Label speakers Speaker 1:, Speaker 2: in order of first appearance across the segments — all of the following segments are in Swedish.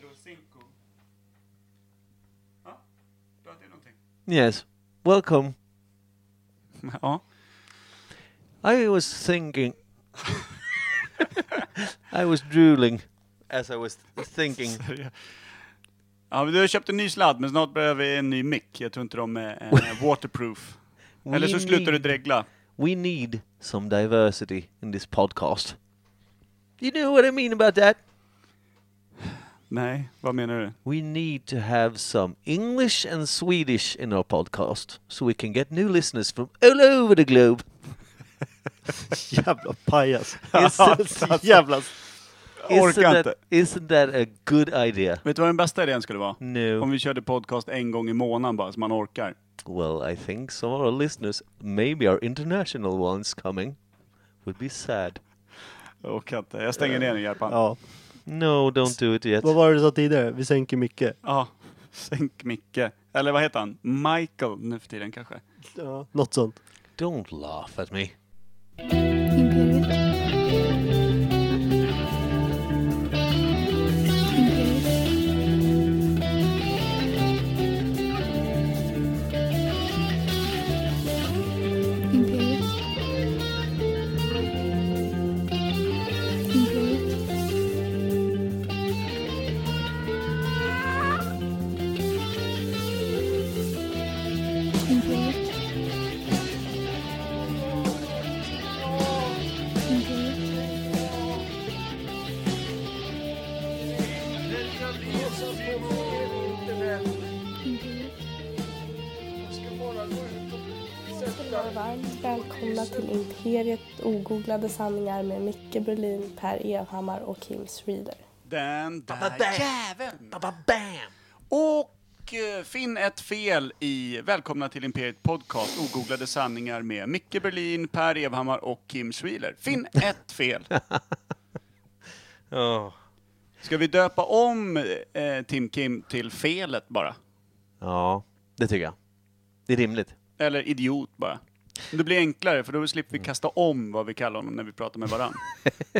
Speaker 1: Los Cinco. Ja, du hade någonting.
Speaker 2: Yes. Welcome.
Speaker 1: Ja.
Speaker 2: I was thinking. I was drooling as I was thinking.
Speaker 1: Ja, men du har köpt en ny sladd, men snart behöver vi en ny mick. Jag tror inte de är eh, waterproof. Eller så
Speaker 2: We
Speaker 1: slutar du
Speaker 2: need-
Speaker 1: dregla.
Speaker 2: We need some diversity in this podcast. You know what I mean about that?
Speaker 1: Nej, vad menar du?
Speaker 2: We need to have some English and Swedish in our podcast so we can get new listeners from all over the globe.
Speaker 3: Jävla pajas. Det
Speaker 1: Ja, alltså.
Speaker 3: är så- så jävla...
Speaker 1: Jag
Speaker 2: Isn't
Speaker 1: orkar
Speaker 2: that,
Speaker 1: inte.
Speaker 2: isn't that a good idea?
Speaker 1: Vet du vad den bästa idén skulle vara? Om
Speaker 2: No.
Speaker 1: vi körde podcast en gång i månaden bara, så man orkar.
Speaker 2: Well, I think some of our listeners, maybe our international ones coming, would be sad.
Speaker 1: Jag orkar inte. Jag stänger ner nu, Järpan. Ja.
Speaker 3: Ja.
Speaker 2: No, don't do it yet.
Speaker 3: Vad var det du sa tidigare? Vi sänker mycket.
Speaker 1: Sänk Micke. Eller vad heter han? Michael nu för tiden kanske.
Speaker 3: Ja. Något sånt.
Speaker 2: Don't laugh at me.
Speaker 4: Imperial. Imperial. Imperial. Imperial. Imperial. Imperial. Imperial.
Speaker 5: Varmt välkomna till Imperiet ogooglade sanningar med Micke Berlin, Per Evhammar och Kim Reader.
Speaker 1: Den där jäveln! Och eh, finn ett fel i Välkomna till Imperiet Podcast, ogooglade sanningar med Micke Berlin, Per Evhammar och Kim Schwiler. Finn ett fel!
Speaker 2: Oh.
Speaker 1: Ska vi döpa om eh, Tim Kim till felet bara?
Speaker 2: Ja, det tycker jag. Det är rimligt.
Speaker 1: Eller idiot bara? Det blir enklare för då slipper vi kasta om vad vi kallar honom när vi pratar med varann.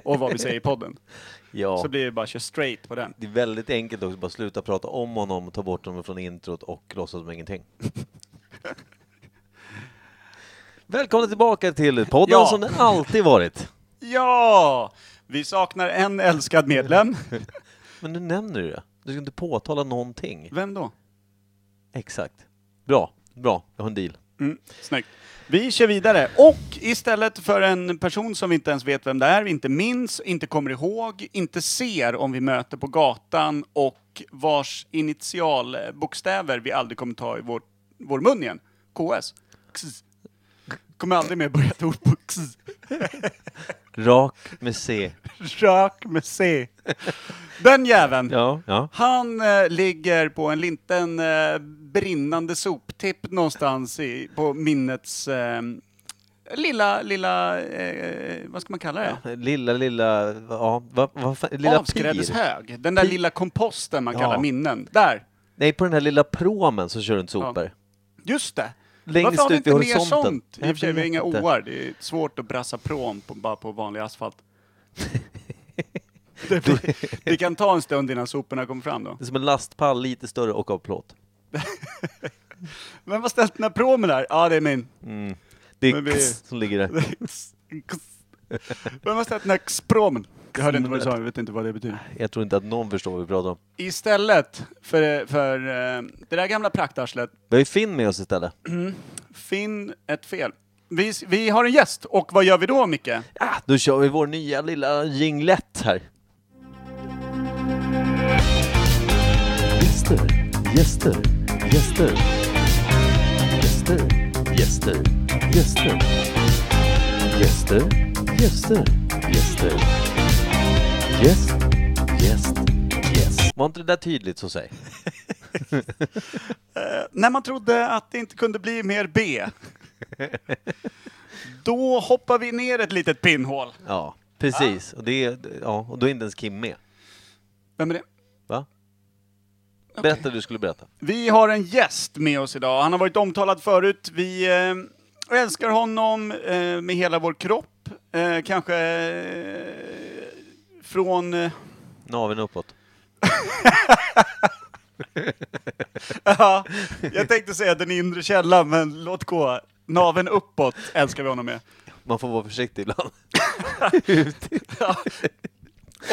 Speaker 1: Och vad vi säger i podden.
Speaker 2: Ja.
Speaker 1: Så blir det bara kör straight på den.
Speaker 2: Det är väldigt enkelt också, bara sluta prata om honom, ta bort honom från introt och låtsas som ingenting. Välkomna tillbaka till podden
Speaker 1: Ja.
Speaker 2: som den alltid varit.
Speaker 1: Ja! Vi saknar en älskad medlem.
Speaker 2: Men nu nämner du det. Du ska inte påtala någonting.
Speaker 1: Vem då?
Speaker 2: Exakt. Bra, bra. Jag har en deal.
Speaker 1: Mm, snyggt. Vi kör vidare. Och istället för en person som vi inte ens vet vem det är, vi inte minns, inte kommer ihåg, inte ser om vi möter på gatan och vars initialbokstäver vi aldrig kommer ta i vår, vår mun igen. KS. Kss. Kommer aldrig mer börja ett ord på kss.
Speaker 2: Rak med C.
Speaker 1: Rök med C. Den jäveln.
Speaker 2: Ja, ja.
Speaker 1: Han eh, ligger på en liten eh, brinnande soptipp någonstans i, på minnets eh, lilla, lilla, eh, vad ska man kalla det?
Speaker 2: Lilla, lilla, ja, vad va, fan, lilla pir.
Speaker 1: Avskrädeshög. Den där
Speaker 2: Pir.
Speaker 1: lilla komposten man
Speaker 2: Ja.
Speaker 1: kallar minnen. Där!
Speaker 2: Nej, på den här lilla promen så kör du inte sopor.
Speaker 1: Just det!
Speaker 2: Längst
Speaker 1: Varför har vi
Speaker 2: ut
Speaker 1: inte
Speaker 2: i
Speaker 1: mer
Speaker 2: horisonten?
Speaker 1: sånt? I och
Speaker 2: Jag
Speaker 1: för sig, vi har
Speaker 2: vet
Speaker 1: inga
Speaker 2: inte.
Speaker 1: åar. Det är svårt att brassa pråm på, bara på vanlig asfalt. det, blir- det kan ta en stund innan soporna kommer fram då.
Speaker 2: Det är som en lastpall, lite större och av plåt.
Speaker 1: Vem har ställt den här pråmen där? Ja, det är min.
Speaker 2: Mm. Det är
Speaker 1: Men vi-
Speaker 2: som ligger där.
Speaker 1: Vem har sett den här xpromen? Jag hörde inte vad du sa, jag vet inte vad det betyder.
Speaker 2: Jag tror inte att någon förstår vad vi pratar om.
Speaker 1: Istället för, för eh, det där gamla praktarslet,
Speaker 2: Vi har ju Finn med oss istället.
Speaker 1: finn ett fel. Vi, vi har en gäst, och vad gör vi då Micke?
Speaker 2: Ah, då kör vi vår nya lilla jinglett här. Gäster, gäster, gäster. Gäster, gäster, gäster. Gäster, gäster, gäster. Gäst, gäst, gäst. Var inte det där tydligt så säg?
Speaker 1: När man trodde att det inte kunde bli mer B. Då hoppar vi ner ett litet pinnhål.
Speaker 2: Ja, precis. Och, det, är- ja, och då är inte ens Kim med.
Speaker 1: Vem är det?
Speaker 2: Va? Berätta det du skulle berätta.
Speaker 1: Vi har en gäst med oss idag. Han har varit omtalad förut. Vi eh, älskar honom eh, med hela vår kropp. Eh, kanske eh, från... Eh,
Speaker 2: Naveln uppåt.
Speaker 1: Ja, jag tänkte säga den inre källan, men låt gå. Naven uppåt älskar vi honom med.
Speaker 2: Man får vara försiktig ibland.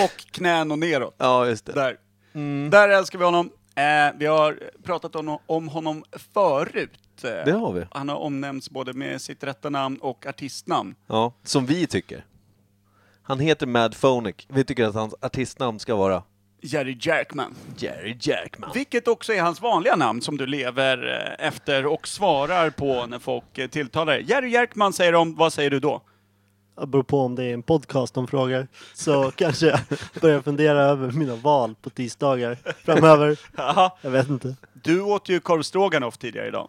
Speaker 1: Och knän och neråt.
Speaker 2: ja, just det.
Speaker 1: Där.
Speaker 2: Mm.
Speaker 1: Där älskar vi honom. Eh, vi har pratat om, om honom förut. Eh,
Speaker 2: Det har vi.
Speaker 1: Han har omnämnts både med sitt rätta namn och artistnamn.
Speaker 2: Ja, som vi tycker. Han heter Mad Phonic. Vi tycker att hans artistnamn ska vara
Speaker 1: Jerry Jackman.
Speaker 2: Jerry Jackman.
Speaker 1: Vilket också är hans vanliga namn som du lever eh, efter och svarar på när folk eh, tilltalar dig. Jerry Jackman säger de, vad säger du då?
Speaker 3: Det beror på om det är en podcast de frågar. Så kanske jag börjar fundera över mina val på tisdagar framöver.
Speaker 1: Aha.
Speaker 3: Jag vet inte.
Speaker 1: Du åt ju korv stroganoff tidigare idag.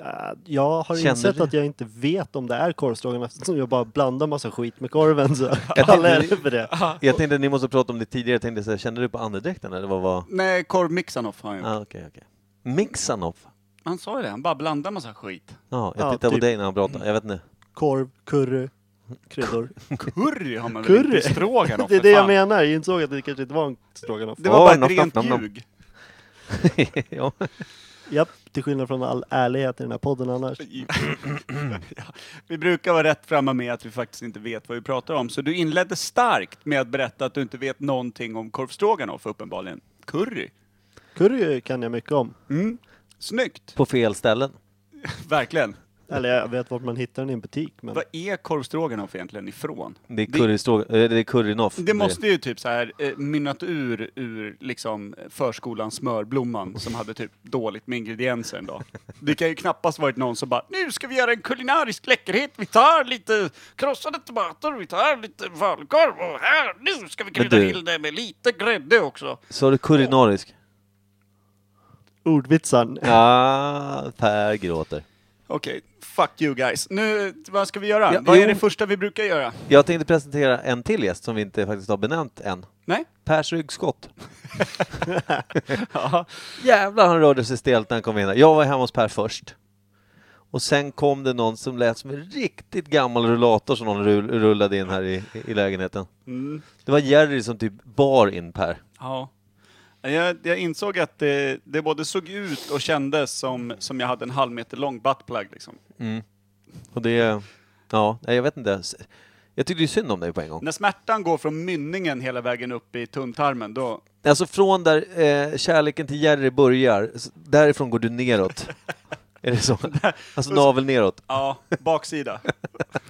Speaker 3: Äh, Jag har
Speaker 2: Känner
Speaker 3: insett
Speaker 2: du?
Speaker 3: att jag inte vet om det är korvstroganoff eftersom jag bara blandar massa skit med korven. Så
Speaker 2: Jag
Speaker 3: alla
Speaker 2: tänkte-
Speaker 3: är för det.
Speaker 2: Jag tänkte att ni måste prata om det tidigare. Jag tänkte så här, kände du på andedräkten eller vad var?
Speaker 1: Nej, korv mixanoff har han gjort.
Speaker 2: Ah, okej, okej. Mixanoff.
Speaker 1: Han sa ju det, han bara blandar massa skit.
Speaker 2: Ja, jag
Speaker 3: Ja,
Speaker 2: tittar
Speaker 3: typ.
Speaker 2: på dig när han pratar. Jag vet inte.
Speaker 3: Korv, curry, kryddor.
Speaker 1: Curry har man väl
Speaker 3: Curry?
Speaker 1: inte i stroganoff?
Speaker 3: Det är
Speaker 1: för
Speaker 3: det jag
Speaker 1: fan.
Speaker 3: menar. Jag insåg att det kanske inte var en stroganoff.
Speaker 1: Det var bara
Speaker 2: Åh,
Speaker 1: ett
Speaker 2: nom, nom,
Speaker 1: rent
Speaker 2: nom, nom.
Speaker 1: ljug.
Speaker 2: ja.
Speaker 3: Japp, till skillnad från all ärlighet i den här podden annars.
Speaker 1: ja, vi brukar vara rätt framme med att vi faktiskt inte vet vad vi pratar om. Så du inledde starkt med att berätta att du inte vet någonting om korv stroganoff uppenbarligen. Curry.
Speaker 3: Curry kan jag mycket om.
Speaker 1: Mm. Snyggt,
Speaker 2: På fel ställen.
Speaker 1: verkligen.
Speaker 3: Eller jag vet vart man hittar den i en butik. Men
Speaker 1: Vad är korv stroganoff egentligen ifrån?
Speaker 2: Det är currystrog... eh, Det är currynoff.
Speaker 1: Det måste ju typ så här eh, mynnat ur ur liksom förskolans smörblomman som hade typ dåligt med ingredienser en dag. Det kan ju knappast varit någon som bara nu ska vi göra en kulinarisk läckerhet. Vi tar lite krossade tomater, vi tar lite falukorv och här nu ska vi krydda
Speaker 2: du-
Speaker 1: till det med lite grädde också.
Speaker 2: Sa du currynarisk?
Speaker 3: ordvitsaren.
Speaker 2: Ja, Ah, Per gråter.
Speaker 1: Okej, fuck you guys. Nu, vad ska vi göra?
Speaker 2: Ja,
Speaker 1: vad är
Speaker 2: jo.
Speaker 1: det första vi brukar göra?
Speaker 2: Jag tänkte presentera en till gäst som vi inte faktiskt har benämnt än.
Speaker 1: Nej?
Speaker 2: Pers ryggskott.
Speaker 1: Ja.
Speaker 2: Jävlar han rörde sig stelt när han kom in här. Jag var hemma hos Per först. Och sen kom det någon som lät som en riktigt gammal rullator som någon rull- rullade in här i, i lägenheten.
Speaker 1: Mm.
Speaker 2: Det var Jerry som typ bar in Per.
Speaker 1: Ja. Jag, jag insåg att det, det både såg ut och kändes som, som jag hade en halv meter lång buttplug liksom.
Speaker 2: Och det... Ja, nej, jag vet inte. S- Jag tyckte ju synd om dig på en gång.
Speaker 1: När smärtan går från mynningen hela vägen upp i tunntarmen, då...
Speaker 2: Alltså från där eh, kärleken till Jerry börjar, s- därifrån går du neråt. Är det så? Alltså navel neråt.
Speaker 1: Ja, baksida.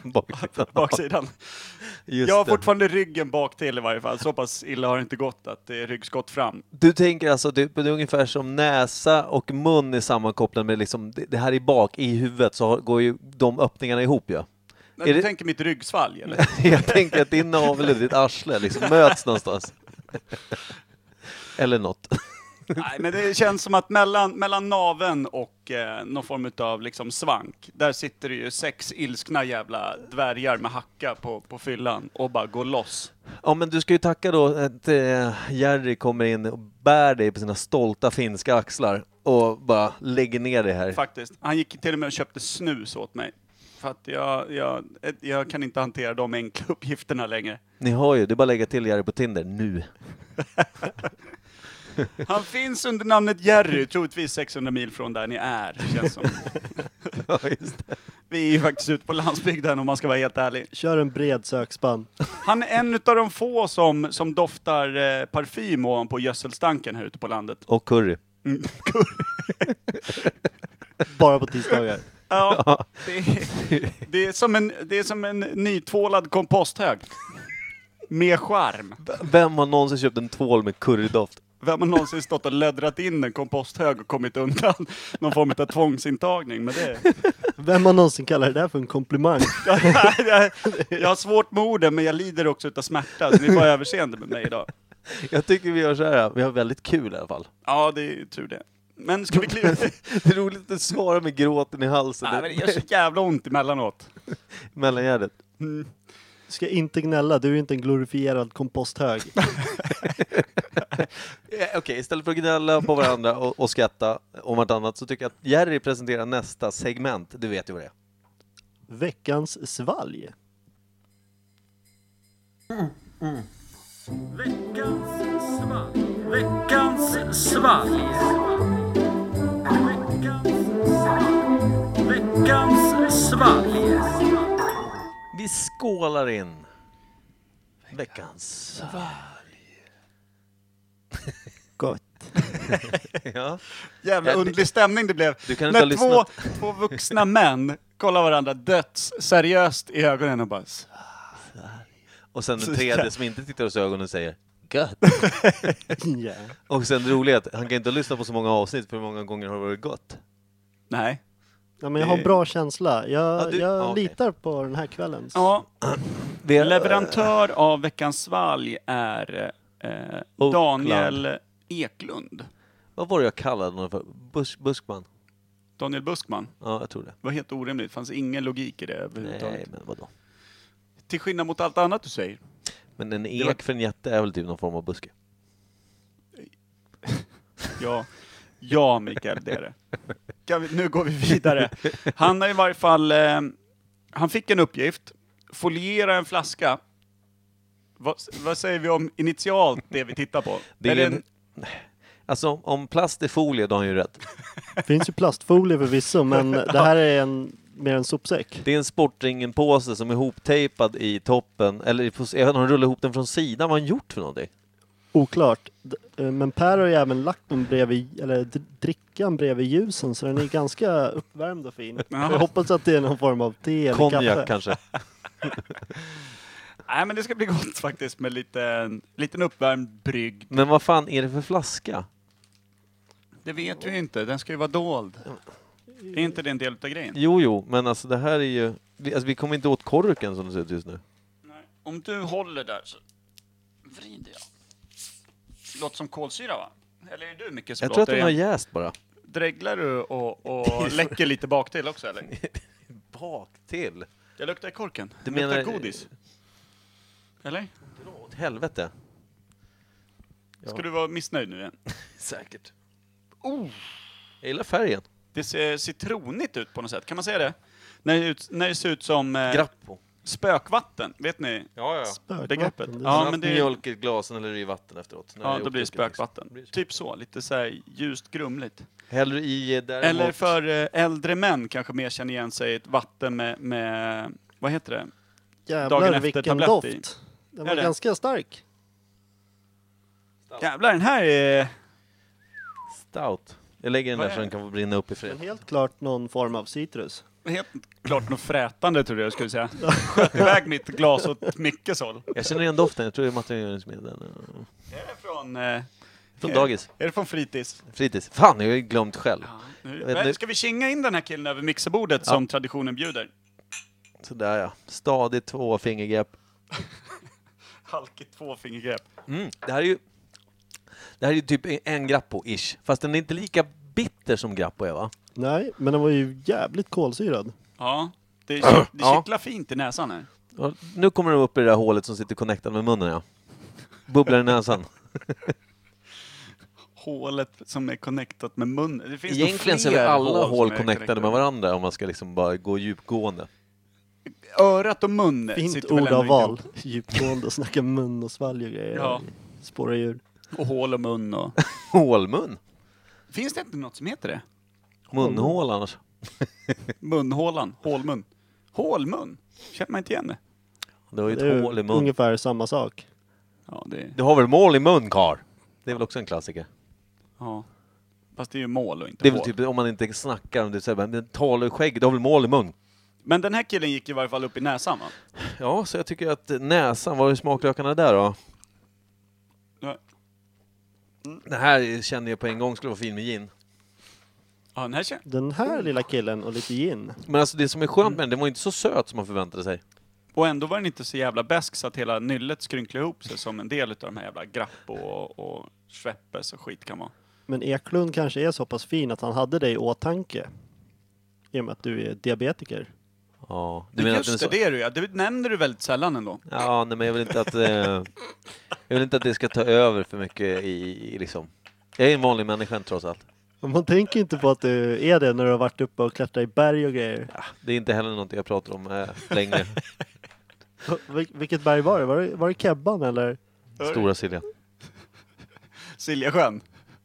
Speaker 2: Baksidan.
Speaker 1: Baksidan.
Speaker 2: Just
Speaker 1: Jag har
Speaker 2: det.
Speaker 1: fortfarande ryggen bak till i varje fall. Så pass illa har det inte gått att det är ryggskott fram.
Speaker 2: Du tänker alltså, det, det är ungefär som näsa och mun är sammankopplade med liksom, det, det här i bak, i huvudet, så har, går ju de öppningarna ihop ja.
Speaker 1: Men
Speaker 2: Är
Speaker 1: du
Speaker 2: det-
Speaker 1: tänker mitt ryggsvalg, eller?
Speaker 2: Jag tänker att din navel och ditt arsle liksom möts någonstans. Eller något.
Speaker 1: Nej, men det känns som att mellan, mellan naven och eh, någon form av liksom svank, där sitter det ju sex ilskna jävla dvärgar med hacka på, på fyllan och bara går loss.
Speaker 2: Ja men du ska ju tacka då att eh, Jerry kommer in och bär dig på sina stolta finska axlar och bara lägger ner dig här.
Speaker 1: Faktiskt. Han gick till och med och köpte snus åt mig. För att jag, jag, eh, jag kan inte hantera de enkla uppgifterna längre.
Speaker 2: Ni har ju, det är bara att lägga till Jerry på Tinder nu.
Speaker 1: Han finns under namnet Jerry, troligtvis 600 mil från där ni är, känns som.
Speaker 2: Ja, just det.
Speaker 1: Vi är ju faktiskt ute på landsbygden om man ska vara helt ärlig.
Speaker 3: Kör en bred sökspann.
Speaker 1: Han är en utav de få som, som doftar eh, parfym ovanpå gödselstanken här ute på landet.
Speaker 2: Och curry.
Speaker 3: Bara på tisdagar.
Speaker 1: Ja, det är, det är, som, en, det är som en nytvålad komposthög. Med charm.
Speaker 2: V- Vem har någonsin köpt en tvål med currydoft?
Speaker 1: Vem har någonsin stått och löddrat in en komposthög och kommit undan någon form av tvångsintagning? Men det,
Speaker 3: Vem har någonsin kallat det där för en komplimang?
Speaker 1: jag har svårt med orden, men jag lider också utav smärta, så ni får ha överseende med mig idag.
Speaker 2: Jag tycker vi gör så här, vi har väldigt kul i alla fall.
Speaker 1: Ja, det är ju tur det. Men ska vi kliva...
Speaker 2: Det är roligt att du svarar med gråten i halsen,
Speaker 1: Nej, men det gör så jävla ont emellanåt.
Speaker 2: mellan hjärtat.
Speaker 3: Ska inte gnälla, du är inte en glorifierad komposthög.
Speaker 2: Eh, Okej, istället för att gnälla på varandra och, och skratta om vartannat så tycker jag att Jerry presenterar nästa segment. Du vet ju vad det är.
Speaker 3: Veckans svalg.
Speaker 1: Veckans svalg.
Speaker 6: Veckans svalg. Veckans- Veckans svalg.
Speaker 2: Vi skålar in veckans
Speaker 3: Gott.
Speaker 1: Jävla
Speaker 2: Ja. Ja, det-
Speaker 1: underlig stämning det blev.
Speaker 2: Du kan inte
Speaker 1: När
Speaker 2: ha
Speaker 1: två, två vuxna män kollar varandra döds seriöst i ögonen och bara "S-
Speaker 2: Och sen den tredje som inte tittar oss i ögonen säger gött.
Speaker 3: Ja.
Speaker 2: Och sen det roliga är att han kan inte lyssna på så många avsnitt för hur många gånger har det varit gott?
Speaker 1: Nej.
Speaker 3: ja, men jag har bra känsla. Jag,
Speaker 2: Ja, du-
Speaker 3: jag
Speaker 2: ja, okej.
Speaker 3: litar på den här kvällen.
Speaker 1: Ja,
Speaker 2: Det
Speaker 1: leverantör av Veckans svalg är eh,
Speaker 2: Oakland.
Speaker 1: Daniel Eklund.
Speaker 2: Vad var det jag kallade honom för? Bus, buskman?
Speaker 1: Daniel Buskman.
Speaker 2: Ja, jag tror det.
Speaker 1: Det var helt orimligt. Det fanns ingen logik i det
Speaker 2: Nej,
Speaker 1: överhuvudtaget.
Speaker 2: men vadå?
Speaker 1: Till skillnad mot allt annat du säger.
Speaker 2: Men en
Speaker 1: var-
Speaker 2: ek för en jätte är väl typ någon form av buske?
Speaker 1: Ja, ja Mikael, det är det. Kan vi, nu går vi vidare. Han har i varje fall, eh, han fick en uppgift, foliera en flaska. Vad, vad säger vi om initialt det vi tittar på?
Speaker 2: Det är
Speaker 1: Eller
Speaker 2: en... Alltså om- om plast är folie, då har han ju rätt.
Speaker 3: Det finns ju plastfolie förvisso, men det här är en, mer en sopsäck.
Speaker 2: Det är en sportringenpåse som är hoptejpad i toppen, eller i pos- jag vet inte, han rullade ihop den från sidan, vad har han gjort för någonting?
Speaker 3: Oklart. D- eh, Men Per har ju även lagt den bredvid, eller d- drickan bredvid ljusen så den är ganska uppvärmd och fin. Jag hoppas att det är någon form av te eller kaffe.
Speaker 2: Konjak kanske?
Speaker 1: Nej, men det ska bli gott faktiskt med lite, liten uppvärmd brygd.
Speaker 2: Men vad fan är det för flaska?
Speaker 1: Det vet vi ju inte, den ska ju vara dold. Är inte det en del av grejen?
Speaker 2: Jo, jo, men alltså det här är ju... Vi, alltså, vi kommer inte åt korken som det ser ut just nu.
Speaker 1: Om du håller där så vrider jag. Låter som kolsyra va? Eller är det du Micke som
Speaker 2: Jag tror att
Speaker 1: låter
Speaker 2: den har
Speaker 1: igen?
Speaker 2: jäst bara.
Speaker 1: Dreglar du och, och läcker lite bak till också eller?
Speaker 2: Bak till.
Speaker 1: Jag luktar i korken.
Speaker 2: Du
Speaker 1: Du luktar
Speaker 2: menar-
Speaker 1: godis. Eller?
Speaker 2: Dra åt helvete. Ja.
Speaker 1: Ska du vara missnöjd nu igen?
Speaker 2: Säkert. Oh, Jag gillar färgen.
Speaker 1: Det ser citronigt ut på något sätt, kan man säga det? När det, ut, när det ser ut som eh,
Speaker 2: Grappo.
Speaker 1: spökvatten, vet ni?
Speaker 2: Ja, ja.
Speaker 3: Spökvatten,
Speaker 1: Det greppet.
Speaker 3: det-
Speaker 1: Ja, men
Speaker 2: det...
Speaker 1: det,
Speaker 2: Mjölk i ett glas eller i vatten efteråt. När
Speaker 1: ja,
Speaker 2: är
Speaker 1: då blir det
Speaker 2: uppdrucket, liksom.
Speaker 1: spökvatten. Typ så, lite så här ljust grumligt.
Speaker 2: Häller du i eh, däremot...
Speaker 1: Eller för eh, äldre män kanske mer känner igen sig i ett vatten med, med vad heter det?
Speaker 3: Jävlar
Speaker 1: dagen efter
Speaker 3: vilken
Speaker 1: tablett
Speaker 3: doft.
Speaker 1: i.
Speaker 3: Den
Speaker 1: Är
Speaker 3: var
Speaker 1: det?
Speaker 3: ganska stark.
Speaker 1: Jävlar, den här är...
Speaker 2: Stout. Jag lägger den
Speaker 1: Vad
Speaker 2: där så
Speaker 1: är
Speaker 2: den kan få brinna upp i
Speaker 3: Men
Speaker 2: fred.
Speaker 3: helt klart någon form av citrus.
Speaker 1: Helt klart något frätande tror jag jag skulle säga. Sköt iväg mitt glas åt Mickes håll.
Speaker 2: Jag känner igen doften, jag tror det är materialgöringsmedel.
Speaker 1: Är det från, eh, är
Speaker 2: Från dagis.
Speaker 1: det från fritids?
Speaker 2: Fritids. Fan, jag har ju glömt själv.
Speaker 1: Nu,
Speaker 2: Jag vet inte.
Speaker 1: ska vi kinga in den här killen över mixerbordet som traditionen bjuder?
Speaker 2: Sådär ja. Stadigt tvåfingergrepp.
Speaker 1: Halkigt tvåfingergrepp.
Speaker 2: Mm. Det här är ju... Det här är ju typ en Grappo-ish. Fast den är inte lika bitter som Grappo är va?
Speaker 3: Nej, men den var ju jävligt
Speaker 1: Eh,
Speaker 3: kolsyrad.
Speaker 1: Ja, det, det
Speaker 2: Ja.
Speaker 1: kittlar fint i näsan här.
Speaker 2: Ja, Nu kommer den upp i det där hålet som sitter connectad med munnen ja. Bubblar i näsan.
Speaker 1: Hålet som är connectat med munnen. Det finns nog
Speaker 2: Egentligen så är
Speaker 1: fler
Speaker 2: väl alla
Speaker 1: som
Speaker 2: hål
Speaker 1: är
Speaker 2: connectade med varandra om man ska liksom bara gå djupgående.
Speaker 1: Örat och mun
Speaker 3: Fint
Speaker 1: sitter väl
Speaker 3: ord
Speaker 1: ändå
Speaker 3: av val.
Speaker 1: ihop.
Speaker 3: Djupgående och snacka mun och svalg och grejer.
Speaker 1: Ja.
Speaker 3: Spåra djur.
Speaker 1: Och hål och mun och...
Speaker 2: Hålmun!
Speaker 1: Finns det inte något som heter det?
Speaker 2: Munhål annars.
Speaker 1: Munhålan, hålmun. Hålmun? Känner man inte igen det?
Speaker 2: Det har ju
Speaker 3: Det
Speaker 2: ett
Speaker 3: är
Speaker 2: hål i
Speaker 3: ju
Speaker 2: mun.
Speaker 3: ungefär samma sak.
Speaker 1: Ja, det...
Speaker 2: Du har väl mål i mun kar? Det är väl också en klassiker.
Speaker 1: Ja. Fast det är ju mål och inte
Speaker 2: Det är väl
Speaker 1: hål.
Speaker 2: typ om man inte snackar, om det säger men talar i skägg, du har väl mål i mun?
Speaker 1: Men den här killen gick i varje fall upp i näsan va?
Speaker 2: Ja, så jag tycker att näsan, vad är smaklökarna där då?
Speaker 1: Ja,
Speaker 2: Det här kände jag på en gång skulle vara fin med gin.
Speaker 1: Ja, den här känner...
Speaker 3: Den här lilla killen och lite gin.
Speaker 2: Men alltså det som är skönt med den, den var ju inte så söt som man förväntade sig.
Speaker 1: Och ändå var den inte så jävla bäsk så att hela nyllet skrynklade ihop sig som en del av de här jävla Grappo och, och Schweppes och skit kan vara.
Speaker 3: Men Eklund kanske är så pass fin att han hade dig i åtanke. I och med att du är diabetiker.
Speaker 2: Ja, du menar att
Speaker 1: Just
Speaker 2: den är
Speaker 1: det,
Speaker 2: så...
Speaker 1: det är du ja. Det nämner du väldigt sällan ändå.
Speaker 2: Ja, nej, men jag vill inte att... Eh, jag vill inte att det ska ta över för mycket i, i liksom... Jag är en vanlig människa trots allt.
Speaker 3: Och Man tänker inte på att du är det när du har varit uppe och klättrat i berg och grejer.
Speaker 2: Det är inte heller något jag pratar om eh, längre.
Speaker 3: Vil- vilket berg var det? Var det, var det Kebban eller?
Speaker 2: Stora Silja.
Speaker 1: Siljasjön.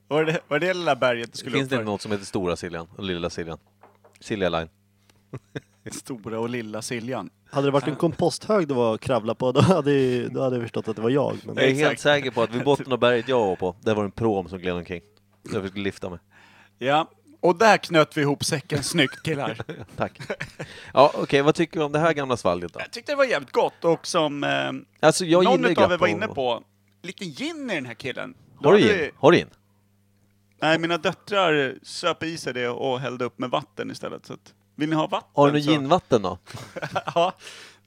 Speaker 1: Var det, var det lilla berget du skulle
Speaker 2: Finns det
Speaker 1: upp
Speaker 2: inte
Speaker 1: för?
Speaker 2: något som heter Stora Siljan och Lilla Siljan? Silja Line.
Speaker 1: Stora och lilla Siljan.
Speaker 3: Hade det varit en komposthög det var att kravla på, då hade, ju, då hade jag förstått att det var jag. Men
Speaker 2: Jag är helt
Speaker 1: Exakt.
Speaker 2: säker på att vid botten av berget jag var på, där var det en pråm som gled omkring. Så jag fick lyfta mig.
Speaker 1: Ja. Och där knöt vi ihop säcken snyggt killar.
Speaker 2: Tack. Ja, okej, vad tycker vi om det här gamla svalget då?
Speaker 1: Jag tyckte det var jävligt gott och som eh,
Speaker 2: Alltså, jag
Speaker 1: någon
Speaker 2: gillar ju
Speaker 1: utav er var
Speaker 2: Gappo.
Speaker 1: inne på, lite gin i den här killen.
Speaker 2: Har du gin? Har du gin?
Speaker 1: Nej, mina döttrar söp i sig det och hällde upp med vatten istället. Så att, vill ni ha vatten?
Speaker 2: Har du något
Speaker 1: så-
Speaker 2: ginvatten då?
Speaker 1: ja,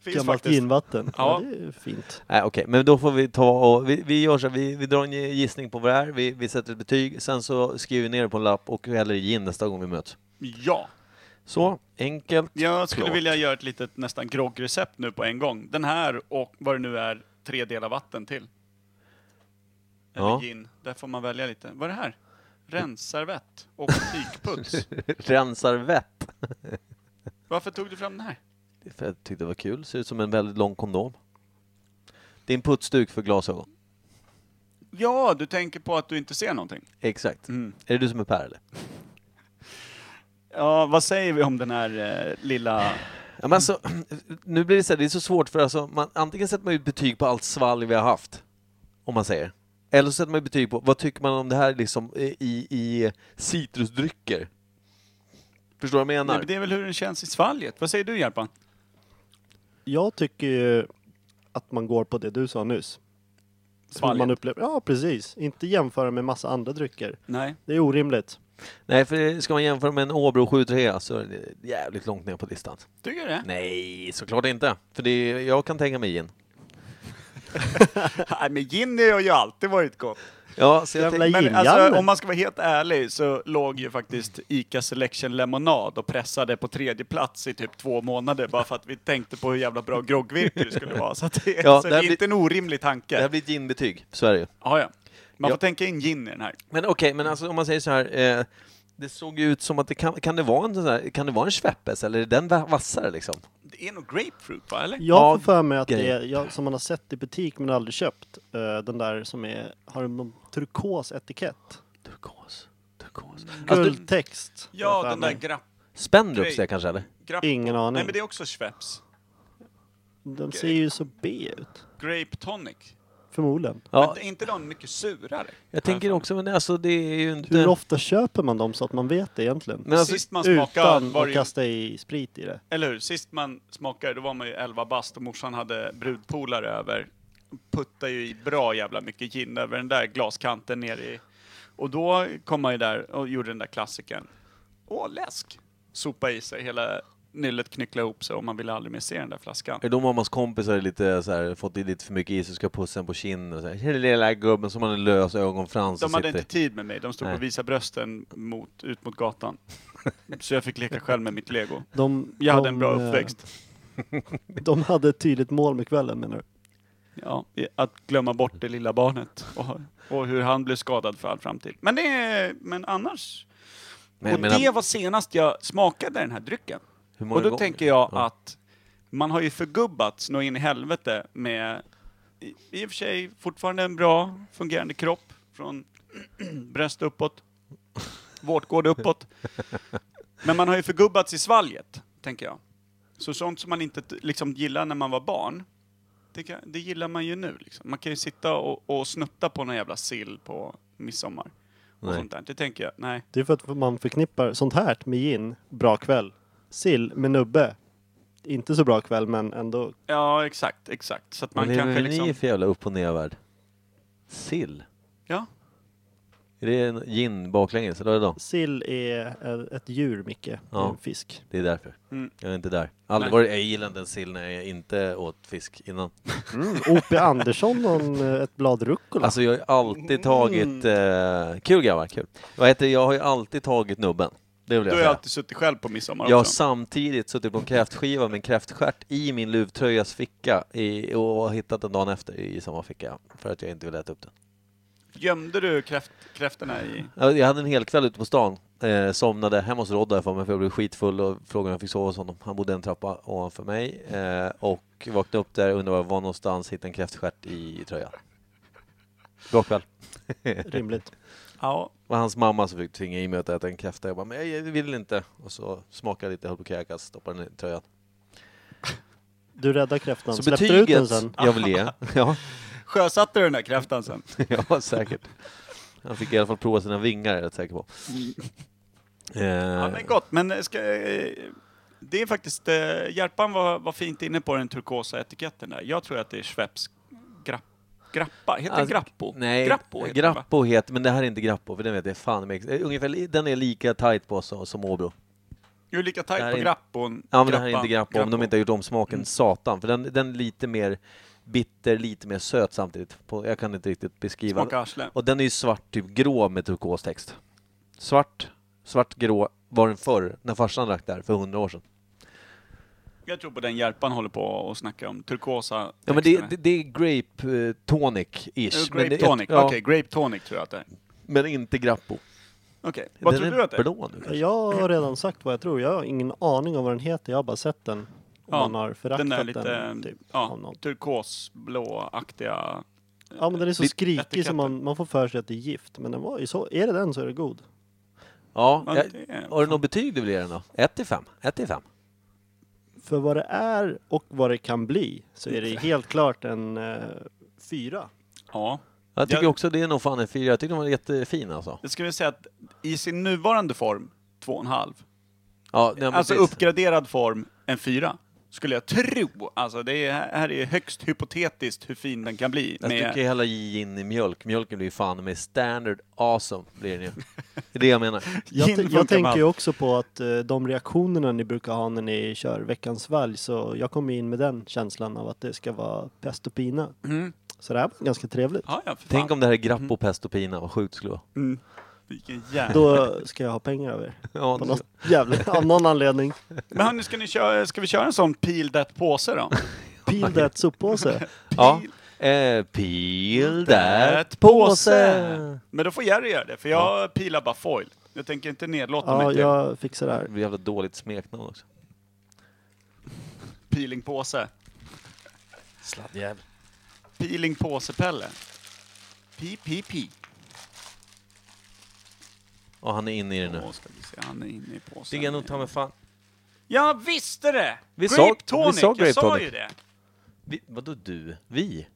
Speaker 1: finns
Speaker 3: gammalt
Speaker 1: faktiskt.
Speaker 3: ginvatten.
Speaker 1: Ja.
Speaker 3: Ja. det är ju fint.
Speaker 2: Nej, okej, men då får vi ta och vi, vi gör så här, vi, vi drar en gissning på vad det är, vi, vi sätter ett betyg, sen så skriver vi ner det på en lapp och häller i gin nästa gång vi möts.
Speaker 1: Ja.
Speaker 2: Så, enkelt.
Speaker 1: Jag skulle
Speaker 2: Klart.
Speaker 1: vilja göra ett litet nästan groggrecept nu på en gång. Den här och vad det nu är, tre delar vatten till. Eller
Speaker 2: Ja.
Speaker 1: gin. Där får man välja lite. Vad är det här? Rensarvett och tygputs.
Speaker 2: Rensar vett.
Speaker 1: Varför tog du fram den här?
Speaker 2: Det är För jag tyckte det var kul, ser ut som en väldigt lång kondom. Det är en putsduk för glasögon.
Speaker 1: Ja, du tänker på att du inte ser någonting.
Speaker 2: Exakt.
Speaker 1: Mm.
Speaker 2: Är det du som är Per eller?
Speaker 1: Ja, vad säger vi om den här eh, lilla...
Speaker 2: Ja, men alltså, nu blir det så här, det är så svårt för alltså, man, antingen sätter man ju ett betyg på allt svalg vi har haft, om man säger. Eller så sätter man ett betyg på, vad tycker man om det här liksom i, i- i citrusdrycker? Förstår du vad
Speaker 1: Nej,
Speaker 2: jag menar?
Speaker 1: men det är väl hur den känns i svalget. Vad säger du, Järpan?
Speaker 3: Jag tycker ju att man går på det du sa nyss. Hur Man
Speaker 1: Svalget?
Speaker 3: upplever, ja, precis. Inte jämföra med massa andra drycker.
Speaker 1: Nej.
Speaker 3: Det är orimligt.
Speaker 2: Nej, för ska man jämföra med en Åbro 7-3 så är det jävligt långt ner på listan.
Speaker 1: Tycker du det?
Speaker 2: Nej, såklart inte. För det är, jag kan tänka mig gin.
Speaker 1: Nej, men gin har ju alltid varit gott.
Speaker 2: Ja, så jag
Speaker 3: Jävla
Speaker 2: tänk-
Speaker 1: Men
Speaker 3: Gin,
Speaker 1: alltså,
Speaker 3: Janne.
Speaker 1: om man ska vara helt ärlig så låg ju faktiskt ICA Selection Lemonad och pressade på tredje plats i typ två månader bara för att vi tänkte på hur jävla bra groggvirke det skulle vara. Så, att det,
Speaker 2: Ja,
Speaker 1: så
Speaker 2: det
Speaker 1: det är
Speaker 2: här blir-
Speaker 1: inte en orimlig
Speaker 2: det här
Speaker 1: tanke.
Speaker 2: blir ett ginbetyg, så är det ju.
Speaker 1: Ja, ja. Man
Speaker 2: Ja.
Speaker 1: får tänka in gin i den här.
Speaker 2: Men okej, men alltså om man säger så här. Eh, det såg ju ut som att det kan, kan det vara en sån här, kan det vara en Schweppes eller är den va- vassare liksom?
Speaker 1: Det är nog grapefruit va, eller?
Speaker 3: Jag
Speaker 2: Ja,
Speaker 3: får för mig att det
Speaker 2: grejer.
Speaker 3: är, jag, som man har sett i butik men aldrig köpt, eh, den där som är, har en turkos etikett.
Speaker 2: Turkos. Turkos.
Speaker 1: Mm.
Speaker 2: Alltså, du,
Speaker 3: Guldtext. har jag
Speaker 1: Ja,
Speaker 3: för
Speaker 1: den där
Speaker 3: mig.
Speaker 1: grapp...
Speaker 2: Spendrups det kanske eller?
Speaker 1: grapp
Speaker 3: Ingen aning.
Speaker 1: Nej, men det är också Schweppes.
Speaker 3: De ser ju så B ut.
Speaker 1: Grape tonic.
Speaker 3: Förmodligen.
Speaker 1: Ja.
Speaker 2: Ja,
Speaker 1: Men är inte de mycket surare?
Speaker 2: jag tänker också, men alltså det är ju inte...
Speaker 3: Hur ofta köper man dem så att man vet det egentligen?
Speaker 2: Men alltså,
Speaker 1: Sist Eh, man smakade
Speaker 3: Utan
Speaker 1: var
Speaker 3: att
Speaker 1: det ju
Speaker 3: kasta i sprit i det.
Speaker 1: Eller hur? Sist man smakade, då var man ju 11 bast och morsan hade brudpolare över. Puttade ju i bra jävla mycket gin över den där glaskanten ner i. Och då kom man ju där och gjorde den där klassikern. Åh, läsk! Sopa i sig hela nyllet knyckla ihop sig och man ville aldrig mer se den där flaskan.
Speaker 2: är det då mammas kompisar är lite så här, fått i lite för mycket is och ska pussa en på kinden och så här, lilla gubben som har en lös ögonfrans och
Speaker 1: De hade
Speaker 2: sitter...
Speaker 1: inte tid med mig, de stod
Speaker 2: Nej.
Speaker 1: och visade brösten mot, ut mot gatan. Så jag fick leka själv med mitt lego.
Speaker 3: De,
Speaker 1: Jag hade
Speaker 3: de,
Speaker 1: en bra
Speaker 3: eh,
Speaker 1: uppväxt.
Speaker 3: De hade ett tydligt mål med kvällen menar du?
Speaker 1: Ja, i- att glömma bort det lilla barnet och, och hur han blev skadad för all framtid. Men, det, är- men annars...
Speaker 2: Men jag
Speaker 1: och
Speaker 2: menar-
Speaker 1: det var senast jag smakade den här drycken.
Speaker 2: Hur många
Speaker 1: Och då
Speaker 2: gånger?
Speaker 1: tänker jag
Speaker 2: Ja.
Speaker 1: att man har ju förgubbats nå in i helvete med, i, i och för sig, fortfarande en bra fungerande kropp från bröst uppåt, vårtgård uppåt. Men man har ju förgubbats i svalget, tänker jag. Så sånt som man inte t- liksom gillar när man var barn, det, kan, det gillar man ju nu. Liksom. Man kan ju sitta och, och snutta på någon jävla sill på midsommar. Och
Speaker 2: Nej.
Speaker 1: sånt där. Det tänker jag, nej.
Speaker 3: Det är för att man förknippar sånt här med gin, bra kväll. Sill med nubbe. Inte så bra kväll men ändå.
Speaker 1: Ja, exakt, exakt. Så att man
Speaker 2: Vad lever
Speaker 1: kanske
Speaker 2: ni
Speaker 1: liksom...
Speaker 2: i för jävla upp och nervärld? Sill?
Speaker 1: Ja.
Speaker 2: Är det en gin baklänges, eller vad är det då?
Speaker 3: Sill är eh, ett djur Micke,
Speaker 2: Ja.
Speaker 3: en fisk.
Speaker 2: Det är därför.
Speaker 1: Mm.
Speaker 2: Jag är inte där. Aldrig
Speaker 1: Nej.
Speaker 2: varit, jag gillade inte ens sill när jag inte åt fisk innan.
Speaker 3: O.P. Mm. Andersson någon, eh, ett blad rucola.
Speaker 2: Alltså jag har ju alltid tagit...
Speaker 1: Mm.
Speaker 2: Eh, kul grabbar, kul. Vad heter det? Jag har ju alltid tagit nubben. Det vill
Speaker 1: Du
Speaker 2: jag
Speaker 1: har ju
Speaker 2: säga.
Speaker 1: alltid suttit själv på midsommar
Speaker 2: Jag har
Speaker 1: också.
Speaker 2: samtidigt suttit på en kräftskiva med en kräftstjärt i min luvtröjas ficka i, och hittat den dagen efter i samma ficka. För att jag inte ville äta upp den.
Speaker 1: Gömde du kräft, kräftorna i...
Speaker 2: Ja, Jag hade en hel kväll ute på stan. Eh, somnade hemma hos Rod därför, men för jag blev skitfull och frågade om jag fick sova hos honom. Han bodde en trappa ovanför mig. Eh, och vaknade upp där och undrade var jag var någonstans, hittade en kräftstjärt i tröjan. God kväll.
Speaker 3: Rimligt.
Speaker 1: Ja.
Speaker 2: var hans mamma som fick tvinga i mig att äta en kräfta. Jag bara, men jag vill inte. Och så smakade jag lite, höll på att kräkas, stoppade den i tröjan.
Speaker 3: Du räddade kräftan.
Speaker 2: Så
Speaker 3: Släppte du ut den
Speaker 2: betyget
Speaker 3: sen?
Speaker 2: jag vill ge. Ja,
Speaker 1: Sjösatte du den där kräftan sen?
Speaker 2: ja, säkert. Han fick i alla fall prova sina vingar, är jag rätt säker på. Eh,
Speaker 1: Mm. Ja, men gott. Men ska, eh, det är faktiskt... Eh, Hjärpan var, var fint inne på den turkosa etiketten där. Jag tror att det är Schweppes grapp, grappa. Heter
Speaker 2: Alltså,
Speaker 1: grappo?
Speaker 2: Nej,
Speaker 1: grappo
Speaker 2: Grappo
Speaker 1: heter
Speaker 2: heter,
Speaker 1: det, va?
Speaker 2: men det här är inte Grappo, för den vet jag fan mig. Ungefär, li- den är lika tight på som, som Åbro.
Speaker 1: Du är lika
Speaker 2: Det här
Speaker 1: tajt
Speaker 2: är
Speaker 1: på
Speaker 2: inte-
Speaker 1: grappon.
Speaker 2: Ja, men det här är inte Grappo, om de inte har gjort om smaken.
Speaker 1: Mm.
Speaker 2: Satan, för den, den är lite mer bitter, lite mer söt samtidigt. På, jag kan inte riktigt beskriva.
Speaker 1: Smaka arsle.
Speaker 2: Och den är ju svart, typ grå med turkos text. Svart, svart, grå var den förr, när farsan drack där för hundra år sedan.
Speaker 1: Jag tror på den Hjärpan håller på och snackar om. Turkosa
Speaker 2: Ja men det,
Speaker 1: texterna.
Speaker 2: det, det är grape eh, tonic-ish.
Speaker 1: Eh,
Speaker 2: men,
Speaker 1: Grape
Speaker 2: det-
Speaker 1: tonic.
Speaker 2: ja,
Speaker 1: Okej, grape tonic tror jag att det är.
Speaker 2: men inte grappo.
Speaker 1: Okej. Vad
Speaker 2: den
Speaker 1: tror
Speaker 2: är
Speaker 1: du att det är?
Speaker 2: blå nu. kanske.
Speaker 3: Jag har redan sagt vad jag tror. Jag har ingen aning om vad den heter. Jag har bara sett den. Och
Speaker 1: Ja,
Speaker 3: man har föraktat
Speaker 1: Den där
Speaker 3: den.
Speaker 1: lite
Speaker 3: typ, av
Speaker 1: ja,
Speaker 3: någon.
Speaker 1: turkosblåaktiga...
Speaker 3: ja men den är så
Speaker 1: lite
Speaker 3: skrikig
Speaker 1: etiketten.
Speaker 3: som man, man får för sig att det är gift. Men den var ju så. Är det den så är det god.
Speaker 2: Ja,
Speaker 1: Ja,
Speaker 2: jag,
Speaker 1: det är-
Speaker 2: har du något betyg du vill ge den då? 1 till 5? 1 till 5?
Speaker 3: För vad det är och vad det kan bli så är det helt klart en eh, fyra.
Speaker 1: Ja.
Speaker 2: Jag tycker
Speaker 1: Jag-
Speaker 2: också det är nog fan en 4. Jag tycker den var jättefin alltså.
Speaker 1: Jag skulle säga att i sin nuvarande form, 2,5.
Speaker 2: Ja, nej, men
Speaker 1: Alltså
Speaker 2: precis.
Speaker 1: uppgraderad form, en 4. Skulle jag tro. Alltså det är, här är högst hypotetiskt hur fin den kan bli.
Speaker 2: Alltså, du kan ju
Speaker 1: Med,
Speaker 2: hälla gin i mjölk. Mjölken blir ju fan med standard awesome. Blir den ju. Det är det jag menar.
Speaker 3: Jag,
Speaker 1: Gin
Speaker 3: t-
Speaker 1: funkar
Speaker 3: jag
Speaker 1: med
Speaker 3: tänker ju
Speaker 1: allt.
Speaker 3: också på att eh, de reaktionerna ni brukar ha när ni kör veckans valg så jag kommer in med den känslan av att det ska vara pest och pina.
Speaker 1: Mm.
Speaker 3: Så det här var ganska trevligt.
Speaker 1: Ja, ja, för
Speaker 2: Tänk
Speaker 1: fan.
Speaker 2: om det här är grappo, pesto, pina. Vad sjukt det skulle vara.
Speaker 1: Mm. Vilken jävla...
Speaker 3: Då ska jag ha pengar av er.
Speaker 2: Ja,
Speaker 3: På
Speaker 2: det-
Speaker 3: något jävla, av någon anledning.
Speaker 1: Men hörni, ska, ni köra, ska vi köra en sån peel that påse då?
Speaker 3: Peel that soppåse.
Speaker 2: Ja.
Speaker 1: Peel
Speaker 2: Eh, peel
Speaker 1: that
Speaker 2: that
Speaker 1: påse.
Speaker 2: påse!
Speaker 1: Men då får Jerry göra det, för jag pilar bara foil. Jag tänker inte nedlåta mig
Speaker 3: Ja,
Speaker 1: till
Speaker 3: jag fixar det här.
Speaker 2: Det blir jävla dåligt smeknamn också.
Speaker 1: peelingpåse.
Speaker 2: Sladdjävel.
Speaker 1: Peelingpåse-Pelle. Pi-pi-pi.
Speaker 2: Och han är inne i det nu.
Speaker 1: Åh, ska vi se, han är inne i påsen.
Speaker 2: Fick jag nog ta mig fan...
Speaker 1: Jag visste det!
Speaker 2: Vi
Speaker 1: grape
Speaker 2: sa- vi
Speaker 1: tonic,
Speaker 2: sa
Speaker 1: jag
Speaker 2: grape
Speaker 1: sa
Speaker 2: tonic.
Speaker 1: ju det.
Speaker 2: Vi, vadå du? Vi?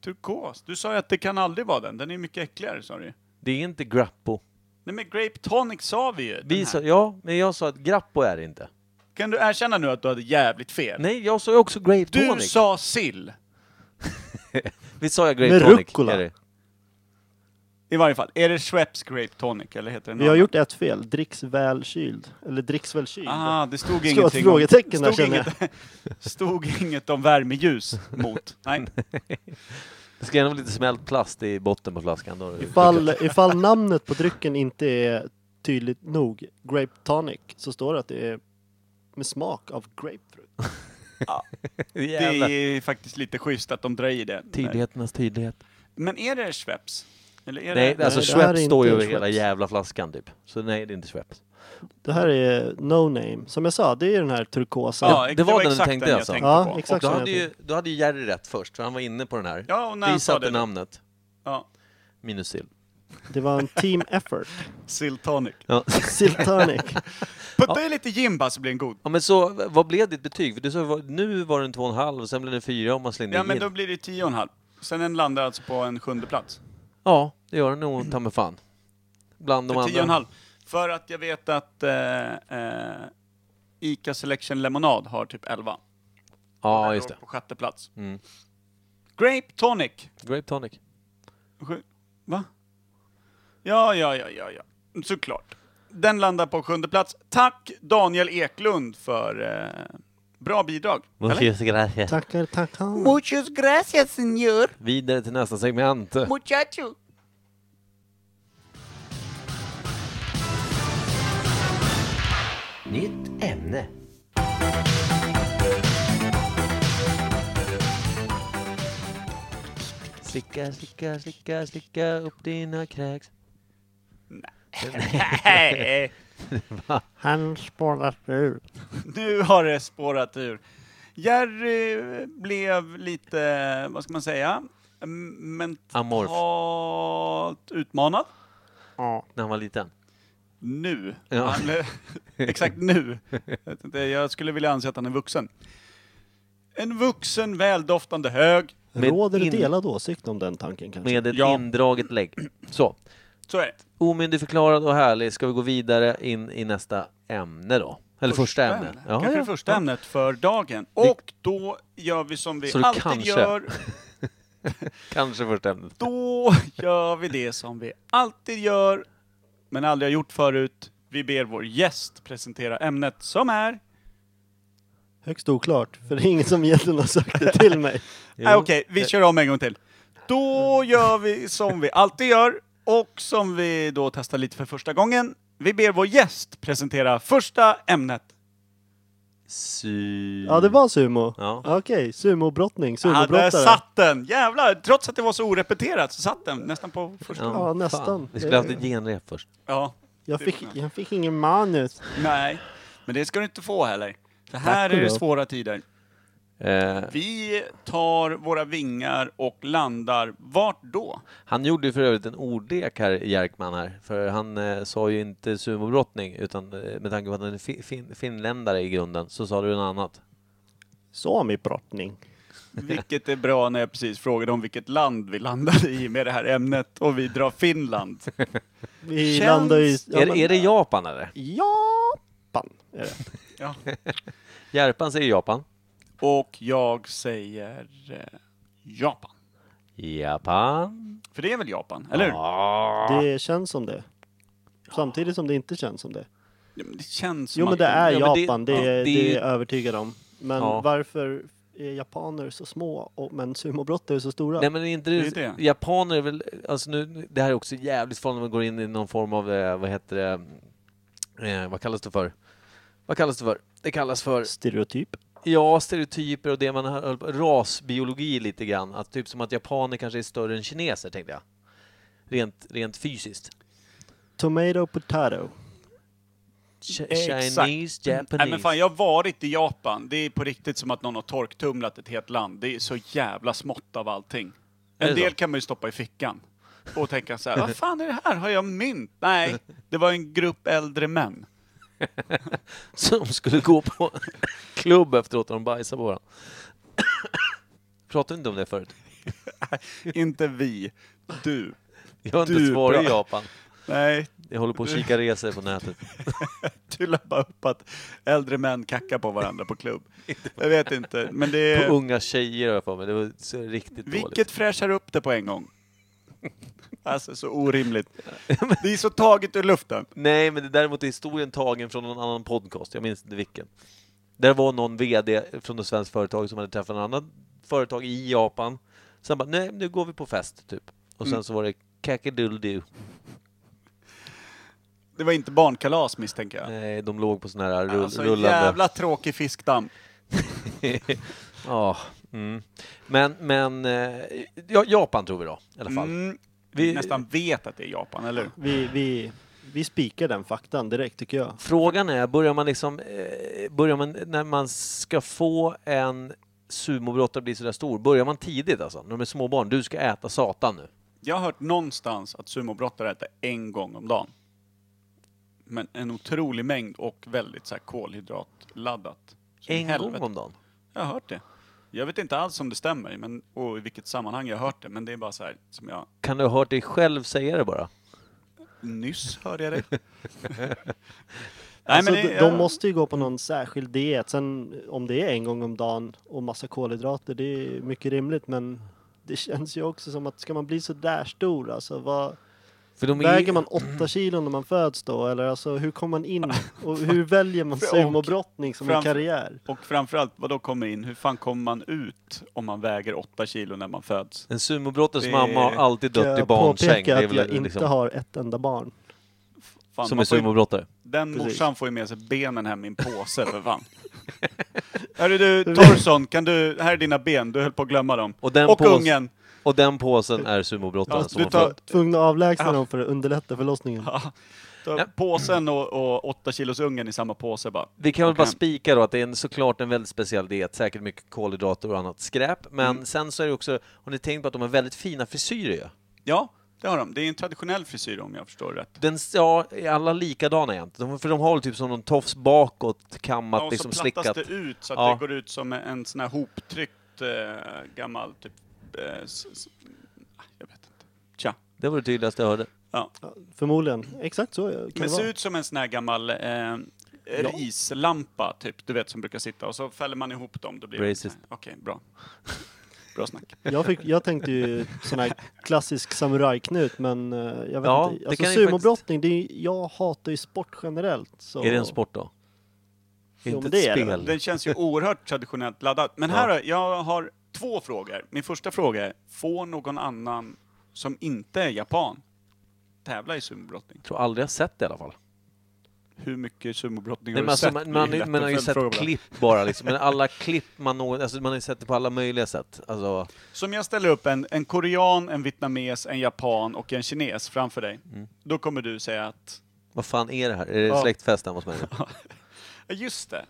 Speaker 1: Turkos. Du sa ju att det kan aldrig vara den, den är mycket äckligare sa du ju.
Speaker 2: Det är inte grappo.
Speaker 1: Nej men grape tonic sa vi ju. den
Speaker 2: Vi
Speaker 1: här.
Speaker 2: sa, ja, men jag sa att grappo är det inte.
Speaker 1: Kan du erkänna nu att du hade jävligt fel?
Speaker 2: Nej, jag sa ju också grape
Speaker 1: du
Speaker 2: tonic.
Speaker 1: sa sill.
Speaker 2: Vi sa jag grape
Speaker 3: Med
Speaker 2: tonic?
Speaker 3: rucola.
Speaker 2: är det.
Speaker 1: I varje fall. Är det Schweppes grape tonic eller heter den
Speaker 3: Vi har gjort ett fel. Dricks väl kyld. Eller dricks väl kyld.
Speaker 1: Ah, det stod
Speaker 3: Slå ett
Speaker 1: ingenting
Speaker 3: frågetecken där,
Speaker 1: stod,
Speaker 3: känner
Speaker 1: inget, stod inget om värmeljus mot. Nej.
Speaker 2: det ska gärna vara lite smält plast i botten på flaskan. Då är det
Speaker 3: Ifall,
Speaker 2: lyckat.
Speaker 3: ifall namnet på drycken inte är tydligt nog, grape tonic, så står det att det är med smak av grapefrukt.
Speaker 1: Det
Speaker 2: Jävlar.
Speaker 1: är faktiskt lite schysst att de drar i det.
Speaker 2: Tydligheternas tydlighet.
Speaker 1: Men är det Schweppes? Eller är
Speaker 2: Nej,
Speaker 1: det...
Speaker 2: alltså
Speaker 3: det här är
Speaker 2: Schweppes står ju
Speaker 3: inte
Speaker 2: över hela
Speaker 3: Schweppes.
Speaker 2: jävla flaskan typ. Så nej, det är inte Schweppes.
Speaker 3: Det här är no name. Som jag sa, det är den här turkosa.
Speaker 1: Ja,
Speaker 2: det var den
Speaker 1: exakt
Speaker 2: du tänkte alltså.
Speaker 3: Ja,
Speaker 1: på.
Speaker 3: exakt.
Speaker 2: Då
Speaker 3: som
Speaker 2: hade,
Speaker 3: jag
Speaker 2: ju, då hade ju Jerry rätt först, för han var inne på den här.
Speaker 1: Ja, och när
Speaker 2: Vi
Speaker 1: han sa
Speaker 2: satte
Speaker 1: det.
Speaker 2: namnet.
Speaker 1: Ja.
Speaker 2: Minus sill.
Speaker 3: Det var en team effort.
Speaker 1: Sill tonic.
Speaker 2: Ja.
Speaker 3: Sill tonic.
Speaker 1: Putta i lite gimba så blir den god.
Speaker 2: ja, men så vad blev ditt betyg? För du sa vad- nu var den två och en halv, sen blev den fyra om man slängde
Speaker 1: Ja,
Speaker 2: in.
Speaker 1: men då blir det tio och en halv. Sen den landar alltså på en sjunde plats.
Speaker 2: Ja, det gör den nog ta mig fan. Bland de
Speaker 1: För tio och en
Speaker 2: andra.
Speaker 1: halv. För att jag vet att eh, eh, Ica Selection Lemonade har typ elva. Den
Speaker 2: Ja,
Speaker 1: låg
Speaker 2: just det.
Speaker 1: På sjätte plats.
Speaker 2: Mm.
Speaker 1: Grape tonic.
Speaker 2: Grape tonic.
Speaker 1: Sju- Va? Ja, ja, ja, ja, ja. Såklart. Den landar på sjunde plats. Tack Daniel Eklund för eh, bra bidrag. Eller?
Speaker 2: gracias.
Speaker 3: Tackar, tackar.
Speaker 7: Muchas gracias, señor.
Speaker 2: Vidare till nästa segment.
Speaker 7: Muchacho.
Speaker 8: Nytt ämne.
Speaker 2: Slicka, slicka, slicka, slicka upp dina kräks.
Speaker 1: Nej,
Speaker 3: Han spårar ur.
Speaker 1: nu har det spårat ur. Jerry blev lite, vad ska man säga, m- mentalt
Speaker 2: Amorf,
Speaker 1: utmanad.
Speaker 3: Ja.
Speaker 2: när han var liten.
Speaker 1: Nu.
Speaker 2: Ja.
Speaker 1: Han, exakt nu. Jag vet inte, Jag skulle vilja anse att han är vuxen. En vuxen, väldoftande hög.
Speaker 2: Med
Speaker 3: Råder
Speaker 2: in-
Speaker 3: delad åsikt om den tanken kanske?
Speaker 2: Med ett
Speaker 1: Ja.
Speaker 2: indraget lägg. Så.
Speaker 1: Så är det.
Speaker 2: Omyndigförklarad och härlig. Ska vi gå vidare in i nästa ämne då? Eller första ämne? Ja,
Speaker 1: kanske
Speaker 2: ja.
Speaker 1: det första ämnet för dagen. Och då gör vi som vi
Speaker 2: Så det
Speaker 1: alltid
Speaker 2: kanske.
Speaker 1: gör.
Speaker 2: Kanske första ämnet.
Speaker 1: Då gör vi det som vi alltid gör, men aldrig har gjort förut. Vi ber vår gäst presentera ämnet som är...
Speaker 3: Högst oklart, för det är ingen som egentligen har sagt det till mig.
Speaker 1: Nej, Okej, vi kör om en gång till. Då gör vi som vi alltid gör och som vi då testar lite för första gången. Vi ber vår gäst presentera första ämnet.
Speaker 2: Sy...
Speaker 3: Ja, det var sumo.
Speaker 2: Ja.
Speaker 3: Okej, sumobrottning,
Speaker 1: Ah, där
Speaker 3: sumobrottare.
Speaker 1: satt den! Jävlar! Trots att det var så orepeterat så satt den nästan på första.
Speaker 3: Ja, nästan.
Speaker 2: Vi skulle haft ett genrep först.
Speaker 1: Ja,
Speaker 3: jag, fick, jag fick ingen manus.
Speaker 1: nej. Men det ska du inte få heller. Det här
Speaker 3: Tack och
Speaker 1: är det
Speaker 3: lov.
Speaker 1: svåra tider.
Speaker 2: Eh,
Speaker 1: Vi tar våra vingar och landar vart då?
Speaker 2: han gjorde ju för övrigt en ordlek här, Jerkman här. För han eh, sa ju inte sumobrottning, utan eh, med tanke på att han är fi- fin- finländare i grunden, så sa du en annat.
Speaker 3: Samibrottning.
Speaker 1: Vilket är bra när jag precis frågade om vilket land vi landade i med det här ämnet och vi drar Finland.
Speaker 3: Vi
Speaker 1: Känns-
Speaker 3: landar i... Ja,
Speaker 2: är,
Speaker 3: men-
Speaker 2: är det Japan eller?
Speaker 3: Japan är det.
Speaker 1: Ja.
Speaker 2: Järpan säger Japan.
Speaker 1: Och jag säger eh, Japan.
Speaker 2: Japan.
Speaker 1: För det är väl Japan, eller hur?
Speaker 3: Det känns som det. Samtidigt som det inte känns som det.
Speaker 1: Ja, men Det känns som
Speaker 3: Jo men
Speaker 1: att-
Speaker 3: det är
Speaker 2: ja, men det-
Speaker 3: Japan, det,
Speaker 2: ja, det är
Speaker 3: är,
Speaker 2: ju-
Speaker 3: det är jag övertygad om. Men
Speaker 2: Ja.
Speaker 3: varför är japaner så små och, men sumobrottare så stora?
Speaker 2: Nej men är inte det,
Speaker 1: Det är det.
Speaker 2: japaner är väl, alltså nu, det här är också jävligt farligt när man går in i någon form av, eh, vad heter det, eh, vad kallas det för? Vad kallas det för? Det kallas för
Speaker 3: Stereotyp.
Speaker 2: Ja, stereotyper och det man har höll på- rasbiologi lite grann. Att typ som att japaner kanske är större än kineser, tänkte jag. Rent, rent fysiskt.
Speaker 3: Tomato potato.
Speaker 2: Ch-
Speaker 1: Exakt.
Speaker 2: Chinese, Japanese.
Speaker 1: Nej men fan, jag har varit i Japan. Det är på riktigt som att någon har torktumlat ett helt land. Det är så jävla smått av allting.
Speaker 2: Är det
Speaker 1: En
Speaker 2: så?
Speaker 1: del kan man ju stoppa i fickan. Och tänka så här, vad fan är det här? Har jag mynt? Nej, det var en grupp äldre män.
Speaker 2: Som skulle gå på klubb efteråt och de bajsade på varandra. Pratade vi inte om det förut?
Speaker 1: Inte vi, du.
Speaker 2: Jag har inte
Speaker 1: Du,
Speaker 2: svarat i
Speaker 1: bra.
Speaker 2: Japan.
Speaker 1: Nej,
Speaker 2: Jag håller på att kika resor på nätet.
Speaker 1: du la bara upp att äldre män kackar på varandra på klubb. Jag vet inte, men det
Speaker 2: På
Speaker 1: är...
Speaker 2: unga tjejer har jag för mig. Det var så riktigt dåligt.
Speaker 1: Vilket fräschar upp det på en gång. Alltså så orimligt. Det är så taget ur luften.
Speaker 2: Nej, men det däremot är historien tagen från någon annan podcast. Jag minns inte vilken. Där var någon VD från ett svenskt företag som hade träffat en annan företag i Japan. Sen bara, nej, nu går vi på fest, typ. Och
Speaker 1: Mm.
Speaker 2: sen så var det kakaduldu.
Speaker 1: Det var inte barnkalas misstänker jag.
Speaker 2: Nej, de låg på sån här rull,
Speaker 1: Alltså
Speaker 2: rullande...
Speaker 1: jävla tråkig fiskdamm.
Speaker 2: ja. Mm. Men, men... eh, Ja, Japan tror vi då, i alla fall.
Speaker 1: Mm, vi
Speaker 2: Vi-
Speaker 1: nästan vet att det är Japan, eller hur?
Speaker 3: Vi, vi, vi spikar den faktan direkt tycker jag.
Speaker 2: Frågan är, börjar man liksom, eh, börjar man när man ska få en sumobrottare bli sådär stor, börjar man tidigt alltså? När de är små barn, du ska äta satan nu.
Speaker 1: Jag har hört någonstans att sumobrottare äter en gång om dagen. Men en otrolig mängd och väldigt så här kolhydratladdat. Så
Speaker 2: en
Speaker 1: helvete.
Speaker 2: gång om dagen.
Speaker 1: Jag har hört det. Jag vet inte alls om det stämmer men, och i vilket sammanhang jag har hört det, men det är bara så här som jag...
Speaker 2: Kan du ha hört dig själv säga det bara?
Speaker 1: Nyss hörde jag det. Nej,
Speaker 3: Alltså,
Speaker 1: det-
Speaker 3: de, de måste ju gå på någon särskild diet. Sen om det är en gång om dagen och massa kolhydrater, det är mycket rimligt. Men det känns ju också som att ska man bli så där stor, alltså vad,
Speaker 2: För de är
Speaker 3: väger
Speaker 2: ju,
Speaker 3: man åtta kilo när man föds då? Eller alltså hur kommer man in? Och hur väljer man sumobrottning som en
Speaker 1: framför-
Speaker 3: karriär?
Speaker 1: Och framförallt, vad då kommer in? Hur fan kommer man ut om man väger 8 kilo när man föds?
Speaker 2: en sumobrottares
Speaker 1: Det-
Speaker 2: mamma har alltid
Speaker 3: Ska
Speaker 2: dött i
Speaker 3: jag
Speaker 2: barnsäng. Det
Speaker 3: påpeka
Speaker 2: är
Speaker 3: att jag
Speaker 2: väl
Speaker 3: inte
Speaker 2: liksom,
Speaker 3: har ett enda barn?
Speaker 1: Fan,
Speaker 2: som är
Speaker 1: man får ju-
Speaker 2: sumobrottare.
Speaker 1: Den
Speaker 3: Precis.
Speaker 1: morsan får ju med sig benen hem i en påse för fan. Hörru du, Torson, kan du, här är dina ben, du höll på att glömma dem.
Speaker 2: Och den
Speaker 1: och
Speaker 2: pås-
Speaker 1: ungen.
Speaker 2: Och den påsen är sumobrottaren
Speaker 1: Ja,
Speaker 2: som
Speaker 1: du
Speaker 2: har
Speaker 1: tar-
Speaker 2: fått.
Speaker 3: Tvungna att avlägsna
Speaker 1: Ja.
Speaker 3: dem för att underlätta förlossningen.
Speaker 1: Ta
Speaker 2: Ja.
Speaker 1: Påsen och, och åtta kilos ungen i samma påse bara.
Speaker 2: Vi kan väl
Speaker 1: Okej.
Speaker 2: bara spika då att det är en, såklart en väldigt speciell diet, säkert mycket kolhydrater och annat skräp. Men
Speaker 1: Mm.
Speaker 2: sen så är det också, har ni tänkt på att de har väldigt fina frisyrer ju?
Speaker 1: Ja, det har de. Det är en traditionell frisyr om jag förstår rätt.
Speaker 2: Den, s- ja, är alla likadana egentligen? De, för de har typ som någon tofs bakåt, kammat,
Speaker 1: Ja, och så
Speaker 2: liksom
Speaker 1: plattas
Speaker 2: slickat.
Speaker 1: det ut så att
Speaker 2: Ja.
Speaker 1: det går ut som en sån här hoptryckt eh, gammal typ... Eh, s, s, ah, jag vet inte. Tja.
Speaker 2: Det var det tydligaste jag hörde.
Speaker 1: Ja.
Speaker 3: Förmodligen. Exakt så kan
Speaker 1: Men
Speaker 3: det
Speaker 1: ser
Speaker 3: vara.
Speaker 1: ut som en sån här gammal eh, rislampa typ, du vet som brukar sitta och så fäller man ihop dem. Då blir det
Speaker 2: Racist.
Speaker 1: så här. Okej, bra. Bra snack.
Speaker 3: Jag, fick, jag tänkte ju sån här klassisk samurajknut men eh, jag vet
Speaker 2: Ja,
Speaker 3: inte.
Speaker 2: det
Speaker 3: Alltså
Speaker 2: kan ju
Speaker 3: sumobrottning, det är, jag hatar ju sport generellt. Så.
Speaker 2: Är det en sport då?
Speaker 3: Jo,
Speaker 2: Inte
Speaker 3: men
Speaker 2: ett
Speaker 3: det är det
Speaker 2: spel?
Speaker 1: Den känns ju oerhört traditionellt laddad. Men här har, jag har två frågor. Min första fråga är, får någon annan som inte är japan tävla i sumobrottning?
Speaker 2: Jag tror aldrig jag sett det i alla fall.
Speaker 1: Hur mycket sumobrottning har
Speaker 2: Nej, men
Speaker 1: du
Speaker 2: alltså,
Speaker 1: sett?
Speaker 2: man,
Speaker 1: Det är
Speaker 2: man,
Speaker 1: lätt
Speaker 2: man har
Speaker 1: en
Speaker 2: ju sett
Speaker 1: följdfråga bara.
Speaker 2: klipp bara liksom. Men alla klipp man någon, alltså man har ju sett det på alla möjliga sätt. Alltså,
Speaker 1: Så om jag ställer upp en, en korean, en vietnames, en japan och en kines framför dig. Då kommer du säga att,
Speaker 2: vad fan är det här? Är det
Speaker 1: Ja.
Speaker 2: släktfesten hos mig? nu?
Speaker 1: "Ja, just det.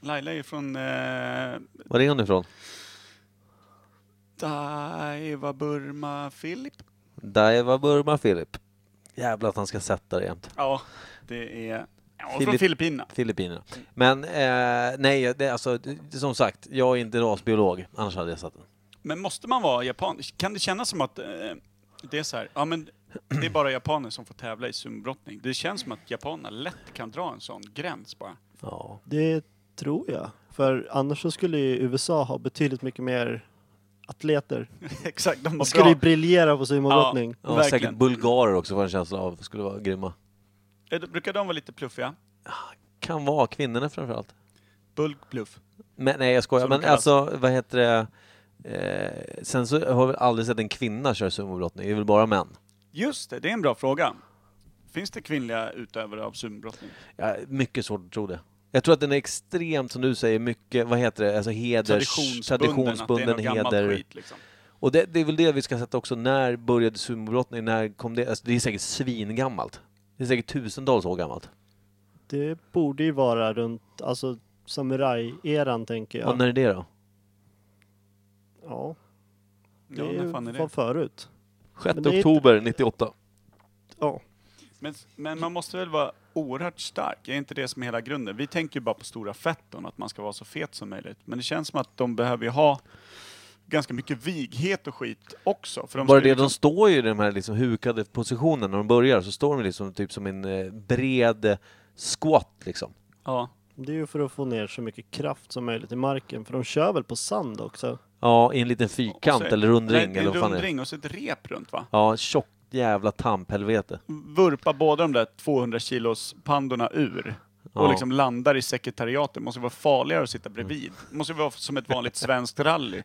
Speaker 1: Laila är från eh,
Speaker 2: Var är hon ifrån?
Speaker 1: Daiva, Burma, Filip.
Speaker 2: Daiva Burma Filip. Jävlar att han ska sätta det jämt.
Speaker 1: Ja, det är... Ja, från
Speaker 2: Filip-
Speaker 1: Filippinerna.
Speaker 2: Filippinerna. Men eh, nej, det, alltså, det, som sagt, jag är inte rasbiolog. Annars hade jag satt den.
Speaker 1: Men måste man vara japan? Kan det kännas som att eh, det är så här, ja men det är bara japaner som får tävla i sumbrottning. Det känns som att japaner lätt kan dra en sån gräns bara.
Speaker 2: Ja.
Speaker 3: Det tror jag. För annars så skulle ju USA ha betydligt mycket mer atleter.
Speaker 1: Exakt, de
Speaker 3: De
Speaker 1: var
Speaker 3: skulle ju
Speaker 1: bra.
Speaker 3: briljera på sumobrottning.
Speaker 2: Ja, och
Speaker 1: Verkligen.
Speaker 2: säkert bulgarer också får en känsla av skulle vara grymma.
Speaker 1: Eh, då Brukar de vara lite pluffiga?
Speaker 2: Kan vara kvinnorna framförallt.
Speaker 1: Bulkbluff.
Speaker 2: Men nej, jag skojar.
Speaker 1: Som de
Speaker 2: Men
Speaker 1: kallas.
Speaker 2: alltså, vad heter det? Eh, sen så har vi aldrig sett en kvinna köra sumobrottning. Det är väl bara män.
Speaker 1: Just det, det är en bra fråga. Finns det kvinnliga utövare av sumbrottning?
Speaker 2: Ja, mycket svårt att tro det. Jag tror att den är extremt, som du säger, mycket, vad heter det, alltså heders...
Speaker 1: att det är något gammalt skit liksom.
Speaker 2: Och det, det är väl det vi ska sätta också, när började sumobrottning, när kom det? Alltså det är säkert svingammalt. Det är säkert tusentals år gammalt.
Speaker 3: Det borde ju vara runt, alltså samurajeran tänker jag.
Speaker 2: Och när är det då?
Speaker 3: Ja, det
Speaker 1: Ja, när fan är
Speaker 3: var
Speaker 1: det?
Speaker 3: förut.
Speaker 2: 6
Speaker 3: Men det är inte-
Speaker 2: oktober 98.
Speaker 3: Ja.
Speaker 1: Men, men man måste väl vara oerhört stark? Är inte det som är hela grunden? Vi tänker ju bara på stora fetton, att man ska vara så fet som möjligt. Men det känns som att de behöver ju ha ganska mycket vighet och skit också. För de
Speaker 2: Bara
Speaker 1: ska ju
Speaker 2: det, de står ju i de här liksom hukade positionerna när de börjar, så står de liksom typ som en eh, bred eh, squat liksom.
Speaker 1: Ja.
Speaker 3: Det är ju för att få ner så mycket kraft som möjligt i marken. För de kör väl på sand också?
Speaker 2: Ja, i en liten
Speaker 1: Och
Speaker 2: fyrkant
Speaker 1: så-
Speaker 2: eller rundring
Speaker 1: Nej, det är
Speaker 2: eller vad
Speaker 1: en
Speaker 2: fan det är.
Speaker 1: rundring och så ett rep runt va?
Speaker 2: Ja, tjockt jävla tamphelvete.
Speaker 1: Vurpa båda de där 200 kilos pandorna ur. Och
Speaker 2: Ja.
Speaker 1: liksom landar i sekretariatet. Måste vara farligare att sitta bredvid. Måste vara som ett vanligt svenskt rally.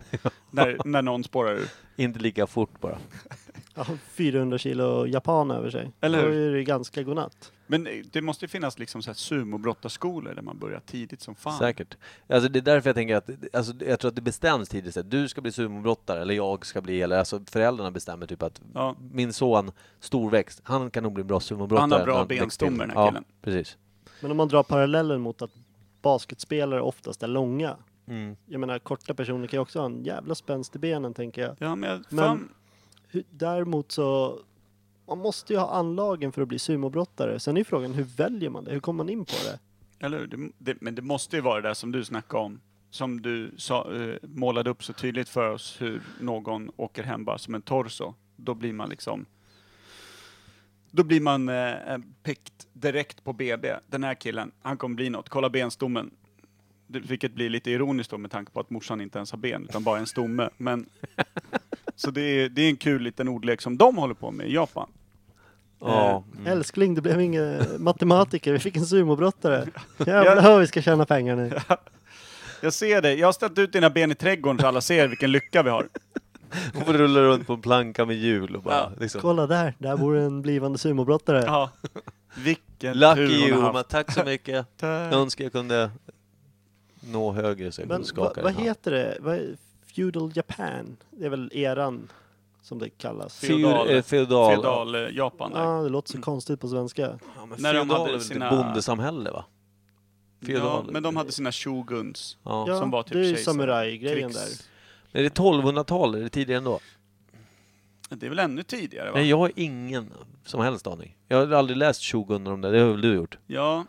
Speaker 1: När, när någon spårar ur.
Speaker 2: Inte lika fort bara.
Speaker 3: Ja, 400 kilo japan över sig.
Speaker 1: Eller hur?
Speaker 3: Då är det ganska godnatt.
Speaker 1: Men eh, det måste ju finnas liksom så här sumobrottarskolor där man börjar tidigt som fan.
Speaker 2: Säkert. Alltså det är därför jag tänker att, alltså jag tror att det bestäms tidigt. så att Du ska bli sumobrottare, eller jag ska bli, eller alltså föräldrarna bestämmer typ att
Speaker 1: Ja.
Speaker 2: min son, storväxt, han kan nog bli bra sumobrottare.
Speaker 1: Han har bra
Speaker 2: när växer
Speaker 1: benstomme,
Speaker 2: till.
Speaker 1: den här
Speaker 2: Ja,
Speaker 1: killen.
Speaker 2: precis.
Speaker 3: Men om man drar parallellen mot att basketspelare oftast är långa.
Speaker 2: Mm.
Speaker 3: Jag menar korta personer kan ju också ha en jävla spänst i benen tänker jag.
Speaker 1: Ja, men, jag-
Speaker 3: Men-
Speaker 1: fan,
Speaker 3: Hur- Däremot så man måste ju ha anlagen för att bli sumobrottare. Sen är ju frågan hur väljer man det? Hur kommer man in på det?
Speaker 1: eller hur? det, det, Men det måste ju vara det där som du snackade om. Som du sa, eh, målade upp så tydligt för oss hur någon åker hem bara som en torso. Då blir man liksom... Då blir man eh, pikt direkt på BB. Den här killen, han kommer bli något. Kolla benstommen. Det- Vilket blir lite ironiskt då med tanke på att morsan inte ens har ben utan bara en stomme. Men, så det är, det är en kul liten ordlek som de håller på med i Japan.
Speaker 2: Ja. Mm.
Speaker 3: Eh, Älskling, det blev ingen matematiker, vi fick en sumobrottare. Jävlar vad vi ska tjäna pengar nu.
Speaker 1: Jag ser det. Jag har ställt ut dina ben i trädgården så alla ser vilken lycka vi har.
Speaker 2: Hon får rulla runt på en planka med hjul och bara
Speaker 1: Ja.
Speaker 2: liksom.
Speaker 3: Kolla där, där bor en blivande sumobrottare.
Speaker 1: Ja. Vilken
Speaker 2: Lucky
Speaker 1: tur
Speaker 2: you,
Speaker 1: hon har
Speaker 2: Oma,
Speaker 1: haft.
Speaker 2: tack så mycket. Jag
Speaker 1: Tack.
Speaker 2: önskar jag kunde nå högre så jag
Speaker 3: Men
Speaker 2: kunde
Speaker 3: va,
Speaker 2: skaka
Speaker 3: vad
Speaker 2: den här.
Speaker 3: heter det? Vad, feudal Japan? Det är väl eran som det kallas.
Speaker 1: Feodal.
Speaker 2: Feodal. feodal.
Speaker 1: Feodal-Japan eh, där.
Speaker 3: Ja, det låter så konstigt på svenska.
Speaker 2: Ja, men
Speaker 1: När de
Speaker 2: feodal
Speaker 1: hade
Speaker 2: är väl
Speaker 1: sina-
Speaker 2: ett bondesamhälle va?
Speaker 1: Ja,
Speaker 2: Feodal.
Speaker 1: men de hade sina shoguns.
Speaker 2: Ja.
Speaker 3: Ja,
Speaker 1: som var typ
Speaker 3: det är ju
Speaker 1: kejsare.
Speaker 3: samurajgrejen där.
Speaker 1: Krigs...
Speaker 2: Är det 1200-tal? Är det tidigare än då?
Speaker 1: Det är väl ännu tidigare va?
Speaker 2: Nej, jag har ingen som helst aning. Jag har aldrig läst Shogun om det. Det har väl du gjort?
Speaker 1: Ja.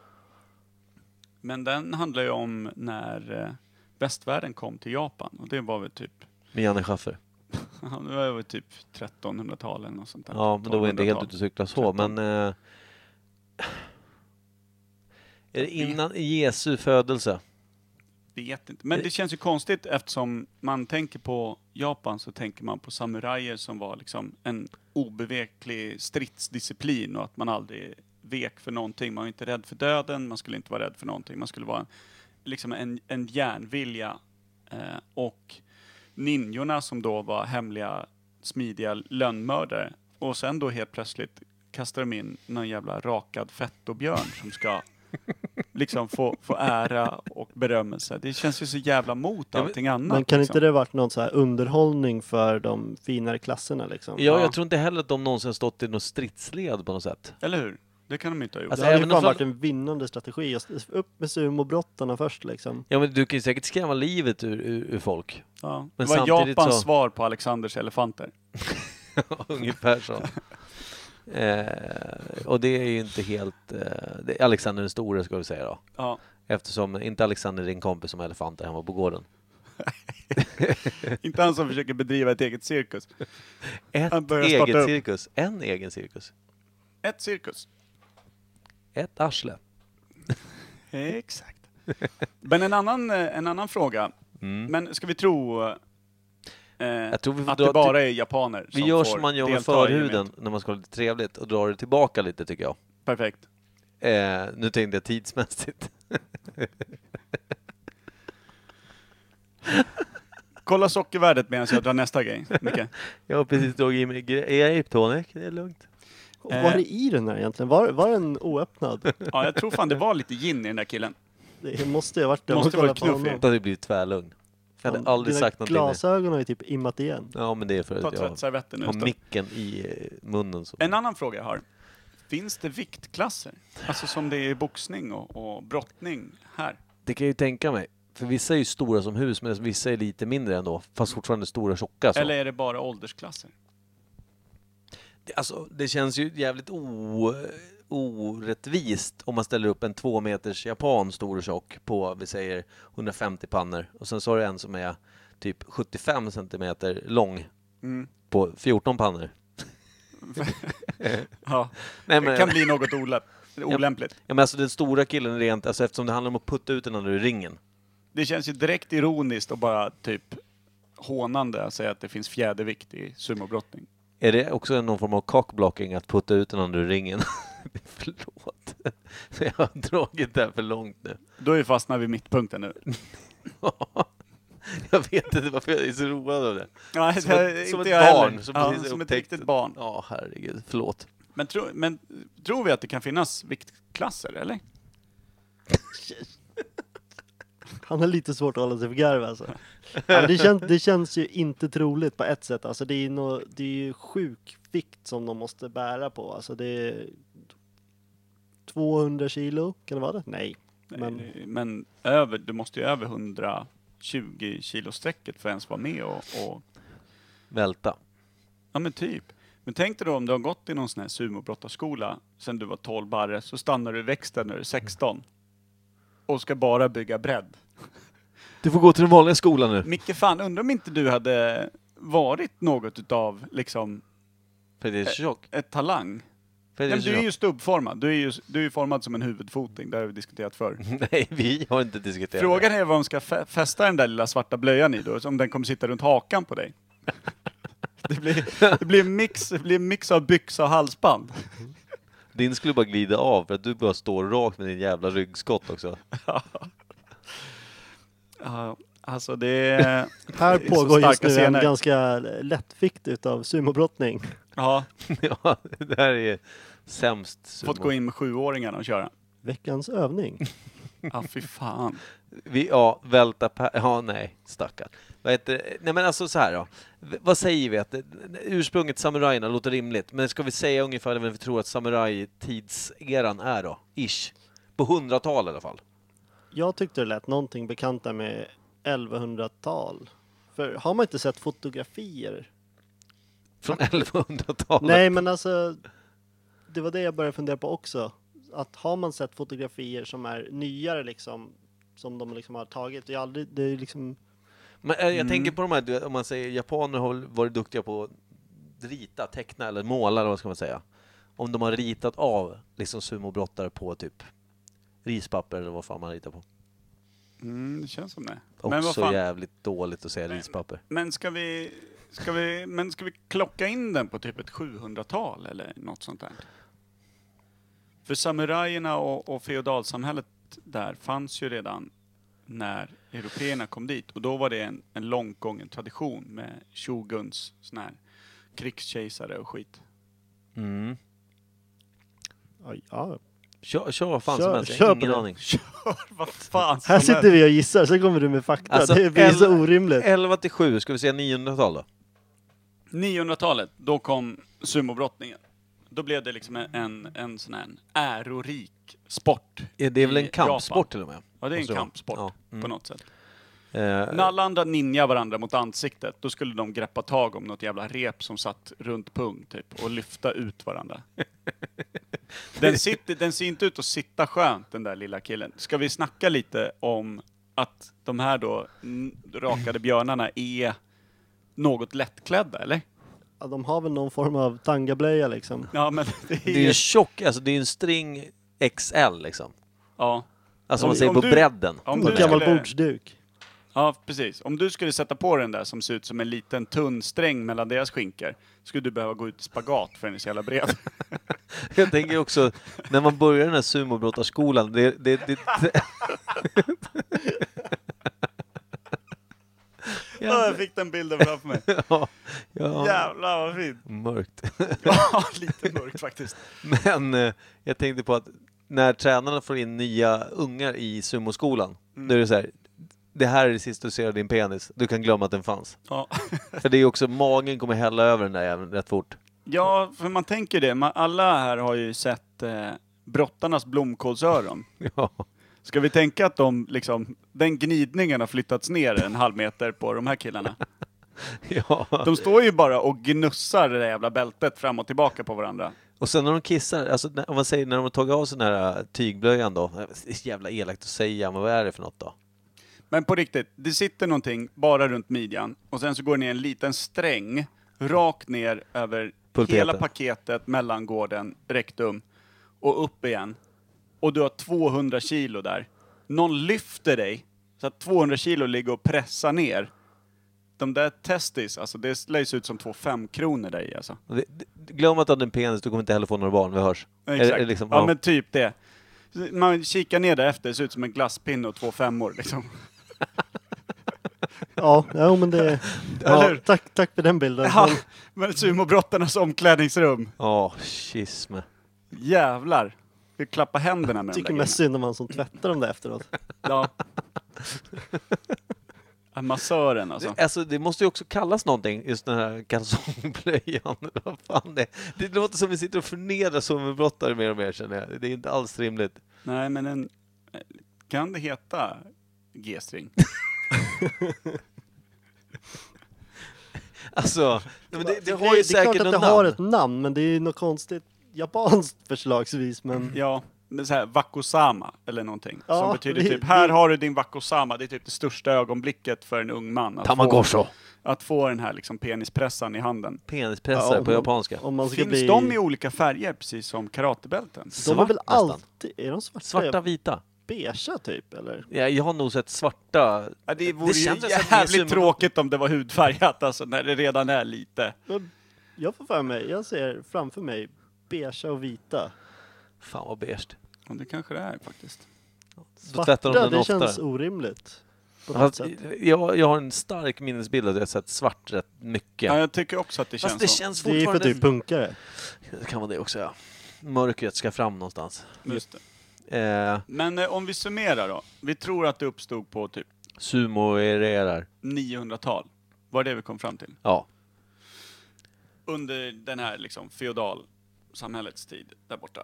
Speaker 1: Men den handlar ju om när eh, västvärlden kom till Japan. Och det var väl typ,
Speaker 2: Med Janne Schaffer.
Speaker 1: det var väl typ 1300-tal eller något sånt där.
Speaker 2: Ja, men då var jag inte helt
Speaker 1: 1200-tal.
Speaker 2: ute och cykla så, men... Eh, är det innan Jesu födelse?
Speaker 1: Vet inte. Men det känns ju konstigt eftersom man tänker på Japan så tänker man på samurajer som var liksom en obeveklig stridsdisciplin och att man aldrig vek för någonting. Man var inte rädd för döden, man skulle inte vara rädd för någonting. Man skulle vara en, liksom en, en järnvilja. Eh, och ninjorna som då var hemliga, smidiga lönnmördare. Och sen då helt plötsligt kastar de in någon jävla rakad fettobjörn som ska liksom få, få ära och berömmelse. Det känns ju så jävla mot
Speaker 2: Ja, men-
Speaker 1: allting annat.
Speaker 3: Men kan
Speaker 1: liksom.
Speaker 3: inte det varit någon så här underhållning för de finare klasserna liksom?
Speaker 2: Ja, jag tror inte heller att de någonsin stått i någon stridsled på något sätt.
Speaker 1: Eller hur? Det kan de inte ha gjort.
Speaker 2: Alltså,
Speaker 3: det hade ju
Speaker 2: även om
Speaker 3: fan
Speaker 2: de-
Speaker 3: varit en vinnande strategi. Just Upp med sumobrottarna först liksom.
Speaker 2: Ja, men du kan ju säkert skrämma livet ur, ur, ur folk.
Speaker 1: ja.
Speaker 2: men
Speaker 1: det var
Speaker 2: samtidigt
Speaker 1: Japans
Speaker 2: så-
Speaker 1: svar på Alexanders elefanter.
Speaker 2: Ungefär så. eh, och det är ju inte helt... Eh, det är Alexander den store ska vi säga då.
Speaker 1: Ja.
Speaker 2: Eftersom, inte Alexander din kompis som elefant där han var på gården.
Speaker 1: inte han som försöker bedriva ett eget cirkus.
Speaker 2: Ett
Speaker 1: Han börjar starta
Speaker 2: eget
Speaker 1: upp.
Speaker 2: cirkus. En egen cirkus.
Speaker 1: Ett cirkus.
Speaker 2: Ett arsle.
Speaker 1: Exakt. Men en annan, eh, en annan fråga. Men ska vi tro eh,
Speaker 2: tror vi får
Speaker 1: att
Speaker 2: dra
Speaker 1: det bara
Speaker 2: till-
Speaker 1: är japaner
Speaker 2: Vi
Speaker 1: som
Speaker 2: gör
Speaker 1: får
Speaker 2: som man gör med
Speaker 1: delta i
Speaker 2: förhuden
Speaker 1: gemensamt?
Speaker 2: när man ska ha lite trevligt och drar det tillbaka lite tycker jag.
Speaker 1: Perfekt.
Speaker 2: Eh, nu tänkte jag tidsmässigt.
Speaker 1: Kolla sockervärdet medan jag drar nästa grej, Micke.
Speaker 2: Jag har precis dragit i mig grape tonic, det är lugnt.
Speaker 3: Och
Speaker 1: Eh.
Speaker 3: Vad är det i den här egentligen? Var, var den oöppnad?
Speaker 1: Ja, jag tror fan det var lite gin i den där killen.
Speaker 3: Det måste ju ha varit det. om
Speaker 1: Måste
Speaker 3: man
Speaker 1: varit
Speaker 3: kollar på
Speaker 1: knuffig.
Speaker 2: Då hade jag blivit tvärlugn. Jag hade
Speaker 3: Fan,
Speaker 2: aldrig
Speaker 3: dina
Speaker 2: sagt någonting.
Speaker 3: Glasögon har ju typ immat igen.
Speaker 2: Ja men det är för
Speaker 1: Ta
Speaker 2: att jag
Speaker 1: tvättservetten nu.
Speaker 2: har
Speaker 1: istället.
Speaker 2: micken i eh, munnen. Så.
Speaker 1: En annan fråga jag har. Finns det viktklasser? Alltså som det är i boxning och, och brottning här.
Speaker 2: Det kan jag ju tänka mig. För vissa är ju stora som hus medan vissa är lite mindre ändå. Fast fortfarande stora tjocka. Så.
Speaker 1: Eller är det bara åldersklasser?
Speaker 2: Det- Alltså, det känns ju jävligt o, orättvist om man ställer upp en två meters japan stor och tjock på, vi säger 150 pannor och sen så har du en som är typ 75 centimeter lång
Speaker 1: Mm.
Speaker 2: på 14 pannor.
Speaker 1: Ja,
Speaker 2: Nej, men,
Speaker 1: det kan bli något olämp- olämpligt.
Speaker 2: ja, men alltså den stora killen är rent, alltså eftersom det handlar om att putta ut den andra ur ringen.
Speaker 1: Det känns ju direkt ironiskt och bara typ hånande att säga att det finns fjädervikt i sumobrottning.
Speaker 2: Är det också någon form av cockblocking att putta ut den andra ur ringen? Förlåt. Jag har dragit det här för långt nu.
Speaker 1: Då är vi fastnar vid mittpunkten nu.
Speaker 2: jag vet inte varför jag är så road av det.
Speaker 1: Ja,
Speaker 2: Som,
Speaker 1: det har
Speaker 2: ett, som ett
Speaker 1: inte jag heller.
Speaker 2: barn som
Speaker 1: ja,
Speaker 2: precis
Speaker 1: som ett
Speaker 2: upptäckt-
Speaker 1: riktigt barn.
Speaker 2: Ja, herregud. Förlåt.
Speaker 1: Men, tro, men tror vi att det kan finnas viktklasser, eller?
Speaker 3: Han har lite svårt att hålla sig för garv alltså. Ja, men det, känns, det känns ju inte troligt på ett sätt. Alltså, det, är nå det är ju sjuk vikt som de måste bära på. Alltså, det är 200 kilo, kan det vara det? Nej. Men-
Speaker 1: Men, men över, du måste ju över 120 kilo strecket för att ens vara med och, och
Speaker 2: Välta.
Speaker 1: Ja men typ. Men tänk dig då om du har gått i någon sån här sumobrottarskola sen du var 12 barre, så stannar du i växten när du är 16. Och ska bara bygga bredd.
Speaker 2: Du får gå till den vanliga skolan nu.
Speaker 1: Micke fan, undrar om inte du hade varit något utav liksom
Speaker 2: För det är tjock.
Speaker 1: ett talang? Nej,
Speaker 2: För det är
Speaker 1: Eh, men du är
Speaker 2: tjock.
Speaker 1: ju stubbformad, du är ju, du är ju formad som en huvudfoting, det har vi diskuterat förr.
Speaker 2: Nej, vi har inte diskuterat det.
Speaker 1: Frågan är vad de ska fä- fästa den där lilla svarta blöjan i då, om den kommer sitta runt hakan på dig. Det blir, det blir, en, mix, det blir en mix av byxa och halsband.
Speaker 2: Din skulle bara glida av för att du bara står rakt med din jävla ryggskott också.
Speaker 1: Ja, alltså det är...
Speaker 3: Här
Speaker 1: Det är så
Speaker 3: pågår just
Speaker 1: starka
Speaker 3: nu en
Speaker 1: scener.
Speaker 3: ganska lättvikt utav sumobrottning.
Speaker 1: Ja,
Speaker 2: ja, det här är sämst. sumo.
Speaker 1: fått gå in med sjuåringarna och köra.
Speaker 3: Veckans övning.
Speaker 1: Ja, fy fan.
Speaker 2: Vi, ja, välta per... Ja, nej, stackarn. Vad heter, det? nej men alltså så här då. V- Vad säger vi? Att eh, ursprunget samurajerna låter rimligt, men ska vi säga ungefär vad vi tror att samurajtidseran är då? Ish. På hundratal i alla fall.
Speaker 3: Jag tyckte det lät någonting bekant där med 1100-tal. För har man inte sett fotografier?
Speaker 2: Från 1100-talet.
Speaker 3: Nej, men alltså. Det var det jag började fundera på också. Att har man sett fotografier som är nyare liksom, som de liksom har tagit. Det är aldrig, det är liksom,
Speaker 2: Men eh, jag
Speaker 1: Mm.
Speaker 2: tänker på de här, du vet, om man säger japaner har väl varit duktiga på att rita, teckna eller måla eller vad ska man säga? Om de har ritat av liksom sumobrottare på typ rispapper eller vad fan man ritar på.
Speaker 1: Mm, det känns som det. Men vad
Speaker 2: Också
Speaker 1: fan.
Speaker 2: jävligt dåligt att säga rispapper.
Speaker 1: Men ska vi, ska vi, men ska vi klocka in den på typ ett 700-tal eller något sånt där? För samurajerna och, och feodalsamhället där fanns ju redan när européerna kom dit och då var det en, en långt gången tradition med shoguns sån här krigskejsare och skit.
Speaker 2: Mm.
Speaker 3: ja, ja.
Speaker 2: Kör, kör vad fan
Speaker 3: Kör-
Speaker 2: som helst, jag
Speaker 3: kör
Speaker 2: har
Speaker 3: på
Speaker 2: ingen
Speaker 3: det.
Speaker 2: aning.
Speaker 1: Kör vad fan
Speaker 3: Här
Speaker 1: som
Speaker 3: sitter vi och gissar, sen kommer du med fakta.
Speaker 2: Alltså,
Speaker 3: det blir så
Speaker 2: en-
Speaker 3: orimligt.
Speaker 2: 11 till 7, ska vi säga 900-tal då?
Speaker 1: helst. 900-talet, då kom sumobrottningen. Då blev det liksom en, en, en sån här ärorik sport.
Speaker 2: Ja, Det är väl
Speaker 1: i
Speaker 2: en kampsport
Speaker 1: Japan.
Speaker 2: till och med?
Speaker 1: Ja, det är en
Speaker 2: Måste vara.
Speaker 1: kampsport
Speaker 2: Ja, mm.
Speaker 1: på något sätt.
Speaker 2: Eh,
Speaker 1: När alla andra ninjade varandra mot ansiktet, då skulle de greppa tag om något jävla rep som satt runt pung typ och lyfta ut varandra. Den, sitter, den ser inte ut att sitta skönt den där lilla killen. Ska vi snacka lite om att de här då n- rakade björnarna är något lättklädda eller?
Speaker 3: Ja, de har väl någon form av tangablöja liksom.
Speaker 1: Ja men det är
Speaker 2: det är
Speaker 1: ju...
Speaker 2: en tjock, alltså det är en string XL liksom.
Speaker 1: Ja.
Speaker 2: Alltså
Speaker 1: Om-
Speaker 2: om man säger
Speaker 1: om
Speaker 2: på
Speaker 1: du-
Speaker 2: bredden.
Speaker 1: Om
Speaker 3: Någon
Speaker 1: du
Speaker 3: gammal
Speaker 1: skulle-
Speaker 3: bordsduk.
Speaker 1: Ja, precis. Om du skulle sätta på den där som ser ut som en liten tunn sträng mellan deras skinkor, skulle du behöva gå ut i spagat för den är så jävla bred.
Speaker 2: Jag tänker också, när man börjar den här sumobrottarskolan, det, det, det, det...
Speaker 1: Ja, jag fick den bilden framför mig.
Speaker 2: Ja, ja,
Speaker 1: Jävlar vad fint!
Speaker 2: mörkt.
Speaker 1: Ja, lite mörkt faktiskt.
Speaker 2: Men eh, jag tänkte på att när tränarna får in nya ungar i sumoskolan,
Speaker 1: Mm.
Speaker 2: då är det så här, det här är det sista du ser av din penis, du kan glömma att den fanns.
Speaker 1: Ja.
Speaker 2: För det är också, magen kommer hälla över den där jäveln rätt fort.
Speaker 1: ja, för man tänker det. Man, alla här har ju sett eh, brottarnas blomkålsöron.
Speaker 2: Ja.
Speaker 1: Ska vi tänka att de, liksom, den gnidningen har flyttats ner en halv meter på de här killarna?
Speaker 2: ja.
Speaker 1: De står ju bara och gnussar det där jävla bältet fram och tillbaka på varandra.
Speaker 2: Och sen när de kissar, alltså när, om man säger när de har tagit av sig den här eh, tygblöjan då, eh, det är så jävla elakt att säga, men vad är det för något då?
Speaker 1: Men på riktigt, det sitter någonting bara runt midjan och sen så går det ner en liten sträng rakt ner över
Speaker 2: Pulpeten.
Speaker 1: hela paketet, mellangården, rektum och upp igen. Och du har 200 kilo där. Någon lyfter dig så att 200 kilo ligger och pressar ner. De där testis, alltså det lär ju se ut som två femkronor där i alltså.
Speaker 2: Det- det- Glöm att du hade en penis, du kommer inte heller få några barn, vi hörs.
Speaker 1: Exakt.
Speaker 2: Är- är liksom,
Speaker 1: ja,
Speaker 2: ja.
Speaker 1: men typ det. Man kikar ner där efter, det ser ut som en glasspinne och två femmor liksom.
Speaker 3: Ja, ja men det...
Speaker 1: Eller
Speaker 3: Ja,
Speaker 1: hur?
Speaker 3: tack, tack för den bilden.
Speaker 1: Ja, men sumobrottarnas omklädningsrum.
Speaker 2: Ja, schisme.
Speaker 1: Jävlar! Vi klappar händerna med
Speaker 3: Jag
Speaker 1: de
Speaker 3: tycker
Speaker 1: där
Speaker 3: mest synd om han som tvättar dem där efteråt.
Speaker 1: grejerna. Ja. Massören alltså.
Speaker 2: Alltså det måste ju också kallas någonting, just den här kalsongblöjan. Vad fan det, det låter som vi sitter och förnedrar summebrottare mer och mer känner jag. Det är inte alls rimligt.
Speaker 1: Nej men en... Kan det heta G-string?
Speaker 2: Alltså, men det, det
Speaker 3: är-
Speaker 2: har ju
Speaker 3: det är klart
Speaker 2: säkert
Speaker 3: att
Speaker 2: något
Speaker 3: det har
Speaker 2: namn.
Speaker 3: ett namn, men det är ju något konstigt japanskt förslagsvis. Men
Speaker 1: Ja, men så här Wakosama eller någonting. som
Speaker 3: Ja,
Speaker 1: betyder
Speaker 3: vi-
Speaker 1: typ, här
Speaker 3: vi-
Speaker 1: har du din Wakosama. Det är typ det största ögonblicket för en ung man. Att få, att få den här liksom penispressan i handen.
Speaker 2: Penispressare
Speaker 3: om
Speaker 2: på
Speaker 3: man-
Speaker 2: japanska.
Speaker 3: om man ska
Speaker 1: Finns
Speaker 3: bli...
Speaker 1: de i olika färger, precis som karatebälten?
Speaker 3: de har väl
Speaker 2: Svart nästan.
Speaker 3: alltid... Är de svarta?
Speaker 2: Svarta, vita.
Speaker 3: Beigea typ, eller?
Speaker 2: Ja, jag har nog sett svarta...
Speaker 1: Ja, det vore ju
Speaker 2: känns ju som att det är
Speaker 1: jävligt
Speaker 2: sumo-
Speaker 1: tråkigt om det var hudfärgat, alltså när det redan är lite.
Speaker 3: Men Jag får för mig, jag ser framför mig beigea och vita.
Speaker 2: Fan vad beige.
Speaker 1: Ja, det kanske det är faktiskt.
Speaker 2: Då tvättar de
Speaker 3: Svarta,
Speaker 2: den
Speaker 3: det
Speaker 2: oftare.
Speaker 3: känns orimligt. På något
Speaker 2: Fast,
Speaker 3: sätt.
Speaker 2: jag, jag har en stark minnesbild att jag har sett svart rätt mycket.
Speaker 1: Ja, jag tycker också att det
Speaker 2: Fast
Speaker 1: känns
Speaker 2: det
Speaker 1: så.
Speaker 2: känns
Speaker 3: Det är för typ- att
Speaker 2: fortfarande...
Speaker 3: du är punkare.
Speaker 2: Det kan vara det också, ja. Mörkret ska fram någonstans.
Speaker 1: Just det.
Speaker 2: Eh,
Speaker 1: Men eh, om vi summerar då. Vi tror att det uppstod på typ
Speaker 2: Sumoererar.
Speaker 1: 900-tal. Var det vi kom fram till.
Speaker 2: Ja.
Speaker 1: Under den här liksom feodalsamhällets tid där borta.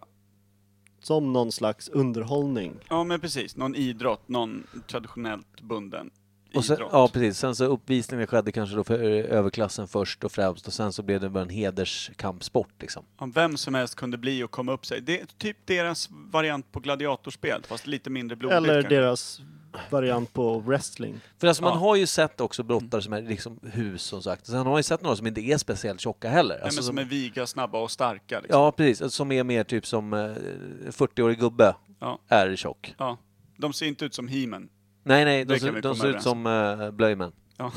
Speaker 3: Som någon slags underhållning.
Speaker 1: Ja men precis, någon idrott, någon traditionellt bunden
Speaker 2: Och sen,
Speaker 1: idrott.
Speaker 2: ja, precis. Sen så uppvisningen skedde kanske då för eh, överklassen först och främst och sen så blev det bara en hederskampsport liksom.
Speaker 1: Om vem som helst kunde bli och komma upp sig. Det är typ deras variant på gladiatorspel, fast lite mindre blodigt
Speaker 3: Eller
Speaker 1: kanske.
Speaker 3: deras variant på wrestling.
Speaker 2: För alltså man
Speaker 1: Ja.
Speaker 2: har ju sett också brottare som är liksom hus som sagt. Sen har man ju sett några som inte är speciellt tjocka heller.
Speaker 1: Nej,
Speaker 2: Alltså
Speaker 1: men som är viga, snabba och starka. Liksom.
Speaker 2: Ja, precis. Alltså Som är mer typ som eh, 40-årig gubbe
Speaker 1: Ja.
Speaker 2: är tjock.
Speaker 1: Ja. De ser inte ut som he
Speaker 2: Nej, nej,
Speaker 1: Det
Speaker 2: de,
Speaker 1: kan vi
Speaker 2: ser- de
Speaker 1: komma
Speaker 2: ser ut
Speaker 1: överens
Speaker 2: som uh, blöjmän.
Speaker 1: Ja.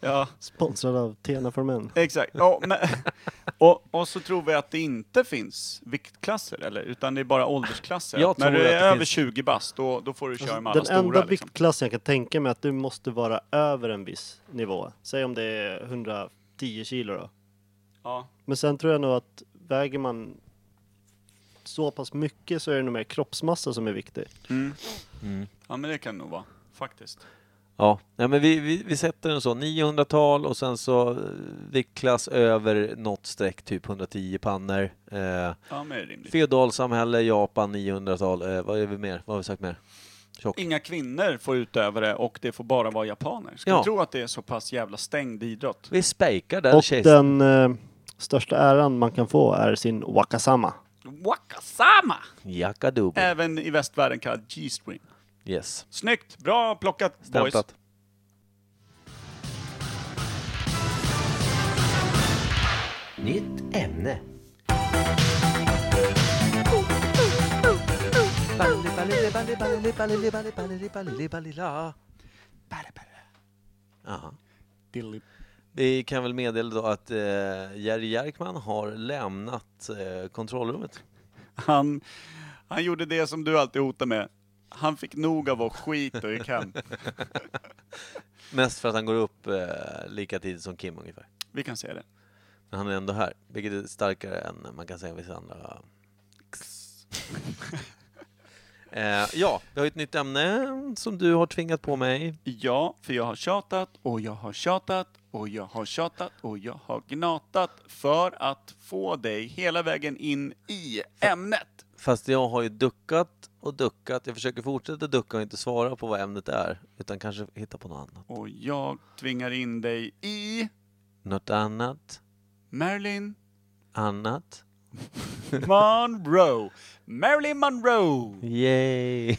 Speaker 1: ja,
Speaker 3: Sponsrad av Tena for Men.
Speaker 1: exakt. Ja, men, och, och så tror vi att det inte finns viktklasser, eller? Utan det är bara åldersklasser.
Speaker 2: Jag
Speaker 1: Att när
Speaker 2: tror
Speaker 1: du
Speaker 2: att
Speaker 1: är
Speaker 2: det
Speaker 1: över
Speaker 2: finns-
Speaker 1: 20 bast, då, då får du köra med alla
Speaker 3: Alltså, Den
Speaker 1: stora.
Speaker 3: enda
Speaker 1: liksom.
Speaker 3: viktklassen jag kan tänka mig är att du måste vara över en viss nivå. Säg om det är 110 kilo då.
Speaker 1: Ja.
Speaker 3: Men sen tror jag nog att väger man så pass mycket så är det nog mer kroppsmassa som är viktig.
Speaker 1: ja, men det kan det nog vara. Faktiskt.
Speaker 2: Ja, nej, men vi, vi, vi sätter den så. 900-tal och sen så eh, viktklass över något streck, typ 110 pannor. Eh,
Speaker 1: Ja, men det är rimligt.
Speaker 2: feodalsamhälle, Japan, 900-tal. Eh, vad är vi mer? Vad har vi sagt mer? Tjock.
Speaker 1: Inga kvinnor får utöva det och det får bara vara japaner. Ska
Speaker 2: Ja.
Speaker 1: vi tro att det är så pass jävla stängd idrott?
Speaker 2: Vi spejkar den
Speaker 3: Och
Speaker 2: kistan.
Speaker 3: den eh, största äran man kan få är sin wakasama.
Speaker 1: Wakasama!
Speaker 2: Jakadubo.
Speaker 1: Även i västvärlden kallad G-string.
Speaker 2: Yes.
Speaker 1: Snyggt! Bra plockat boys!
Speaker 2: Stämplat.
Speaker 8: Nytt ämne.
Speaker 2: Aha. Vi kan väl meddela då att eh, Jerry Jerkman har lämnat eh, kontrollrummet.
Speaker 1: Han, han gjorde det som du alltid hotar med. Han fick nog av vår skit och gick hem.
Speaker 2: Mest för att han går upp eh, lika tidigt som Kim ungefär.
Speaker 1: Vi kan se det.
Speaker 2: Men han är ändå här, vilket är starkare än man kan säga vissa andra. eh, ja, vi har ju ett nytt ämne som du har tvingat på mig.
Speaker 1: Ja, för jag har tjatat och jag har tjatat och jag har tjatat och jag har gnatat för att få dig hela vägen in i ämnet.
Speaker 2: Fast jag har ju duckat och duckat. Jag försöker fortsätta ducka och inte svara på vad ämnet är, utan kanske hitta på något annat.
Speaker 1: Och jag tvingar in dig i
Speaker 2: Något annat,
Speaker 1: Marilyn
Speaker 2: annat.
Speaker 1: Monroe. Marilyn Monroe!
Speaker 2: Yay!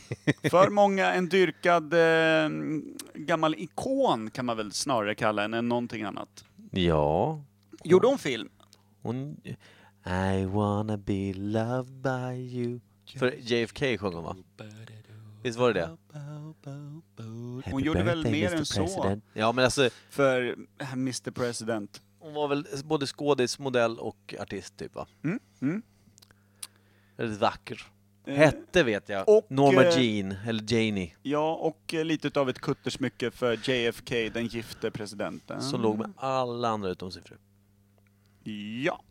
Speaker 1: För många en dyrkad eh, gammal ikon kan man väl snarare kalla henne än någonting annat.
Speaker 2: ja,
Speaker 1: Gjorde hon film?
Speaker 2: hon... I wanna be loved by you. För JFK sjöng hon va? Visst var det det?
Speaker 1: Hon gjorde väl mer än så
Speaker 2: Ja men alltså,
Speaker 1: för Mr President.
Speaker 2: hon var väl både skådis, modell och artist typ va?
Speaker 1: Mm, mm.
Speaker 2: Väldigt vacker.
Speaker 1: Eh,
Speaker 2: Hette vet jag.
Speaker 1: och,
Speaker 2: Norma
Speaker 1: eh,
Speaker 2: Jean, eller Janie,
Speaker 1: Ja, och eh, lite av ett kuttersmycke för JFK, den gifte presidenten.
Speaker 2: som låg med alla andra utom sin fru.
Speaker 1: Ja.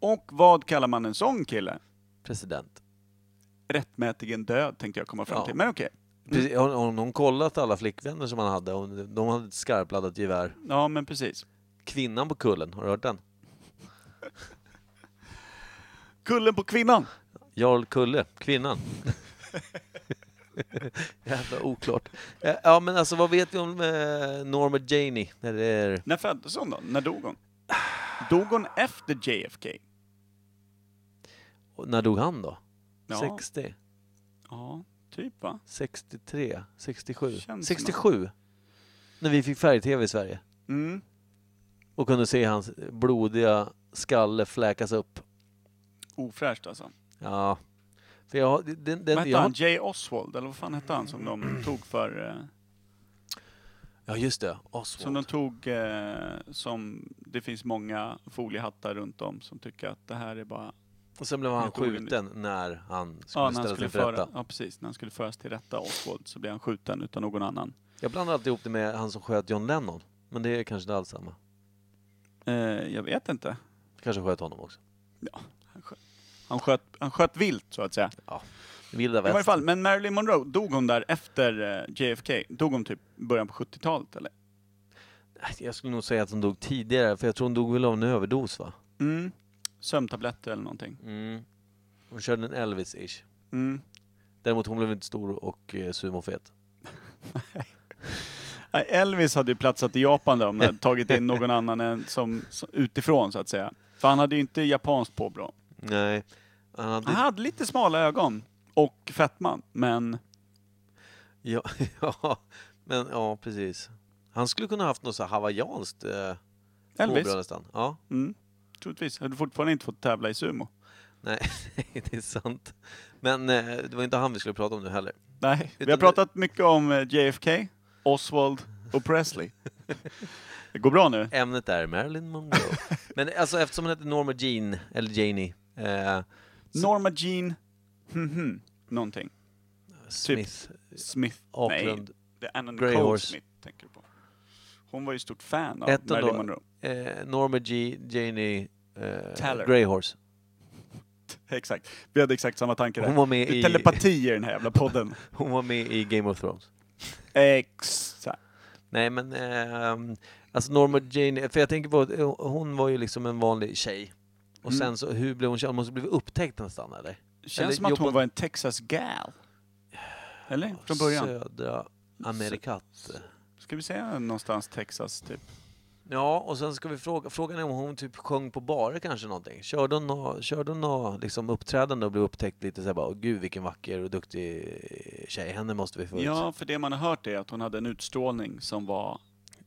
Speaker 1: Och vad kallar man en sån kille?
Speaker 2: President.
Speaker 1: Rättmätigen död tänkte jag komma fram
Speaker 2: Ja.
Speaker 1: till, men okej.
Speaker 2: Precis, Har, har hon kollat alla flickvänner som han hade? Hon, de hade ett skarpladdat gevär.
Speaker 1: Ja, men precis.
Speaker 2: Kvinnan på kullen, har du hört den?
Speaker 1: Kullen på kvinnan!
Speaker 2: Jarl Kulle, kvinnan. Jävla oklart. Eh, Ja men alltså vad vet vi om eh, Norma Janie? När det är...
Speaker 1: När föddes hon då? När dog hon? Dog hon efter JFK?
Speaker 2: och När dog han då?
Speaker 1: Ja.
Speaker 2: 60?
Speaker 1: Ja, typ va?
Speaker 2: 63? 67?
Speaker 1: Känns som att-
Speaker 2: 67? När vi fick färg-tv i Sverige
Speaker 1: Mm.
Speaker 2: och kunde se hans blodiga skalle fläkas upp.
Speaker 1: Ofräscht alltså.
Speaker 2: Ja. För jag har... Den,
Speaker 1: Vad
Speaker 2: den,
Speaker 1: hette
Speaker 2: jag
Speaker 1: han?
Speaker 2: har
Speaker 1: Jay Oswald, eller vad fan hette han som de tog för... eh,
Speaker 2: ja just det,
Speaker 1: Som de
Speaker 2: Oswald.
Speaker 1: tog eh, som... Det finns många foliehattar runt om som tycker att det här är bara...
Speaker 2: Och sen blev han
Speaker 1: Jag tog den.
Speaker 2: skjuten när han skulle
Speaker 1: Ja, när han
Speaker 2: ställa sig
Speaker 1: skulle
Speaker 2: inför
Speaker 1: föra,
Speaker 2: rätta.
Speaker 1: ja, precis. När han skulle föras till rätta, Oswald, så blev han skjuten utan någon annan.
Speaker 2: Jag blandar alltid ihop det med han som sköt John Lennon. Men det är kanske inte alls samma.
Speaker 1: Eh, jag vet inte.
Speaker 2: Kanske sköt honom också.
Speaker 1: Han sköt, han sköt vilt, så att säga.
Speaker 2: Ja. Vilda
Speaker 1: I varje
Speaker 2: väst.
Speaker 1: fall, men Marilyn Monroe, dog hon där efter eh, JFK? Dog hon typ början på 70-talet eller?
Speaker 2: Jag skulle nog säga att hon dog tidigare, för jag tror hon dog väl av en överdos va?
Speaker 1: Mm. Sömntabletter eller någonting.
Speaker 2: Mm. Hon körde en Elvis-ish.
Speaker 1: Mm.
Speaker 2: Däremot hon blev inte stor och eh, sumofet.
Speaker 1: Nej, Elvis hade ju platsat i Japan där om de hade tagit in någon annan än som, som, utifrån så att säga. För han hade ju inte japanskt påbrå.
Speaker 2: Nej. Han hade...
Speaker 1: Han hade lite smala ögon och fetman, men
Speaker 2: Ja, ja, men ja, precis. Han skulle kunna haft något så här hawaiianskt eh,
Speaker 1: Elvis,
Speaker 2: påbrå nästan. Ja,
Speaker 1: mm, troligtvis, hade fortfarande inte fått tävla i sumo.
Speaker 2: nej, det är sant. Men eh, det var inte han vi skulle prata om nu heller.
Speaker 1: Nej, vi har
Speaker 2: Utan-
Speaker 1: pratat mycket om eh, JFK, Oswald och Presley. Det går bra nu.
Speaker 2: Ämnet är Marilyn Monroe. men alltså eftersom hon heter Norma Jean, eller Janie, eh,
Speaker 1: Typ. Norma Jean, mhm, någonting.
Speaker 2: Smith,
Speaker 1: Smith, nej,
Speaker 2: Auckland.
Speaker 1: det är Anna
Speaker 2: Grey
Speaker 1: Nicole
Speaker 2: Horse.
Speaker 1: Smith tänker du på. Hon var ju stort fan av
Speaker 2: Ett och
Speaker 1: Marilyn
Speaker 2: då-
Speaker 1: Monroe.
Speaker 2: Eh, Norma G, Janie, eh,
Speaker 1: Taller.
Speaker 2: Greyhorse.
Speaker 1: Exakt. Vi hade exakt samma tankar
Speaker 2: Hon
Speaker 1: där.
Speaker 2: var med
Speaker 1: Det är
Speaker 2: i...
Speaker 1: telepati i den här jävla podden.
Speaker 2: Hon var med i Game of Thrones.
Speaker 1: Exakt.
Speaker 2: Nej men, ehm, alltså Norma Jean, för jag tänker på, att, eh, hon var ju liksom en vanlig tjej. Och
Speaker 1: Mm.
Speaker 2: sen så, hur blev hon känd? Hon måste blivit upptäckt nästan eller?
Speaker 1: Känns
Speaker 2: Eller
Speaker 1: som att
Speaker 2: jobba-
Speaker 1: hon var en Texas gal. Eller? Från början.
Speaker 2: Södra Amerikat.
Speaker 1: Ska vi säga någonstans Texas, typ?
Speaker 2: Ja, och sen ska vi fråga, frågan är om hon typ sjöng på barer kanske någonting. Körde hon nå- körde hon nå liksom uppträdande och blev upptäckt lite såhär bara, "Åh, gud vilken vacker och duktig tjej, henne måste vi få ut."
Speaker 1: Ja, för det man har hört är att hon hade en utstrålning som var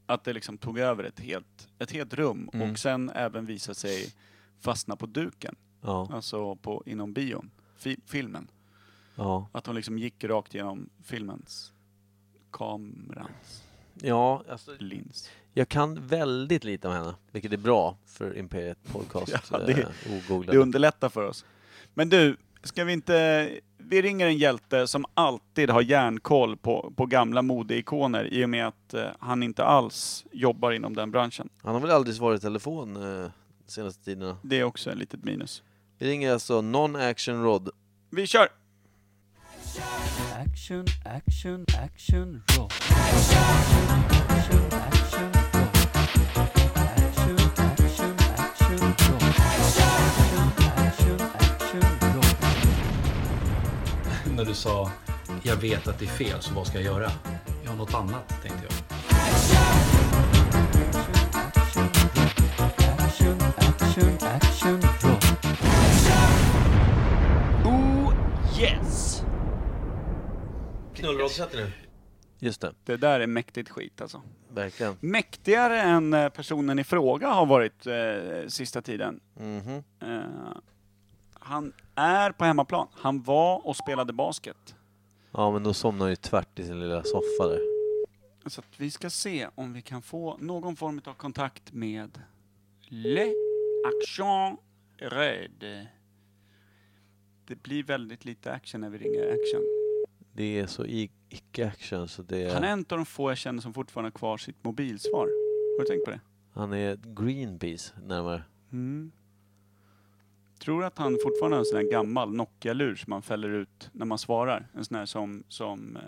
Speaker 1: att det liksom tog över ett helt, ett helt rum
Speaker 2: Mm.
Speaker 1: och sen även visade sig fastna på duken,
Speaker 2: Ja,
Speaker 1: alltså på, inom bion, fi, filmen.
Speaker 2: ja.
Speaker 1: Att hon liksom gick rakt genom filmens kamerans
Speaker 2: ja alltså,
Speaker 1: lins.
Speaker 2: jag kan väldigt lite om henne, vilket är bra för Imperiet Podcast.
Speaker 1: Ja, det-
Speaker 2: eh, ogooglade.
Speaker 1: Det underlättar för oss. Men du, ska vi inte... Vi ringer en hjälte som alltid har järnkoll på, på gamla modeikoner i och med att eh, han inte alls jobbar inom den branschen.
Speaker 2: Han har väl aldrig svarat i telefon eh, senaste tiderna.
Speaker 1: Det är också en litet minus.
Speaker 2: Vi ringer alltså Non-Action Rod.
Speaker 1: Vi kör!
Speaker 6: Action, action, action, roll.
Speaker 9: När du sa jag vet att det är fel, så vad ska jag göra? Jag har något annat, tänkte jag.
Speaker 1: Oh,
Speaker 6: Yes!
Speaker 2: Knullroddsätter nu. Just det,
Speaker 1: Det där är mäktigt skit alltså.
Speaker 2: verkligen.
Speaker 1: Mäktigare än eh, personen i fråga har varit eh, sista tiden.
Speaker 2: Mhm.
Speaker 1: Eh, han är på hemmaplan. Han var och spelade basket.
Speaker 2: Ja men då somnar ju tvärt i sin lilla soffa där.
Speaker 1: Så att vi ska se om vi kan få någon form av kontakt med Le Action Röd. Det blir väldigt lite action när vi ringer action.
Speaker 2: Det är så i- icke-action så det är...
Speaker 1: Han är en av de få jag känner som fortfarande har kvar sitt mobilsvar. Har du tänkt på det?
Speaker 2: han är Greenpeace närmare.
Speaker 1: Mm. Tror att han fortfarande har en sån här gammal Nokia-lur som man fäller ut när man svarar. En sån här som, som eh,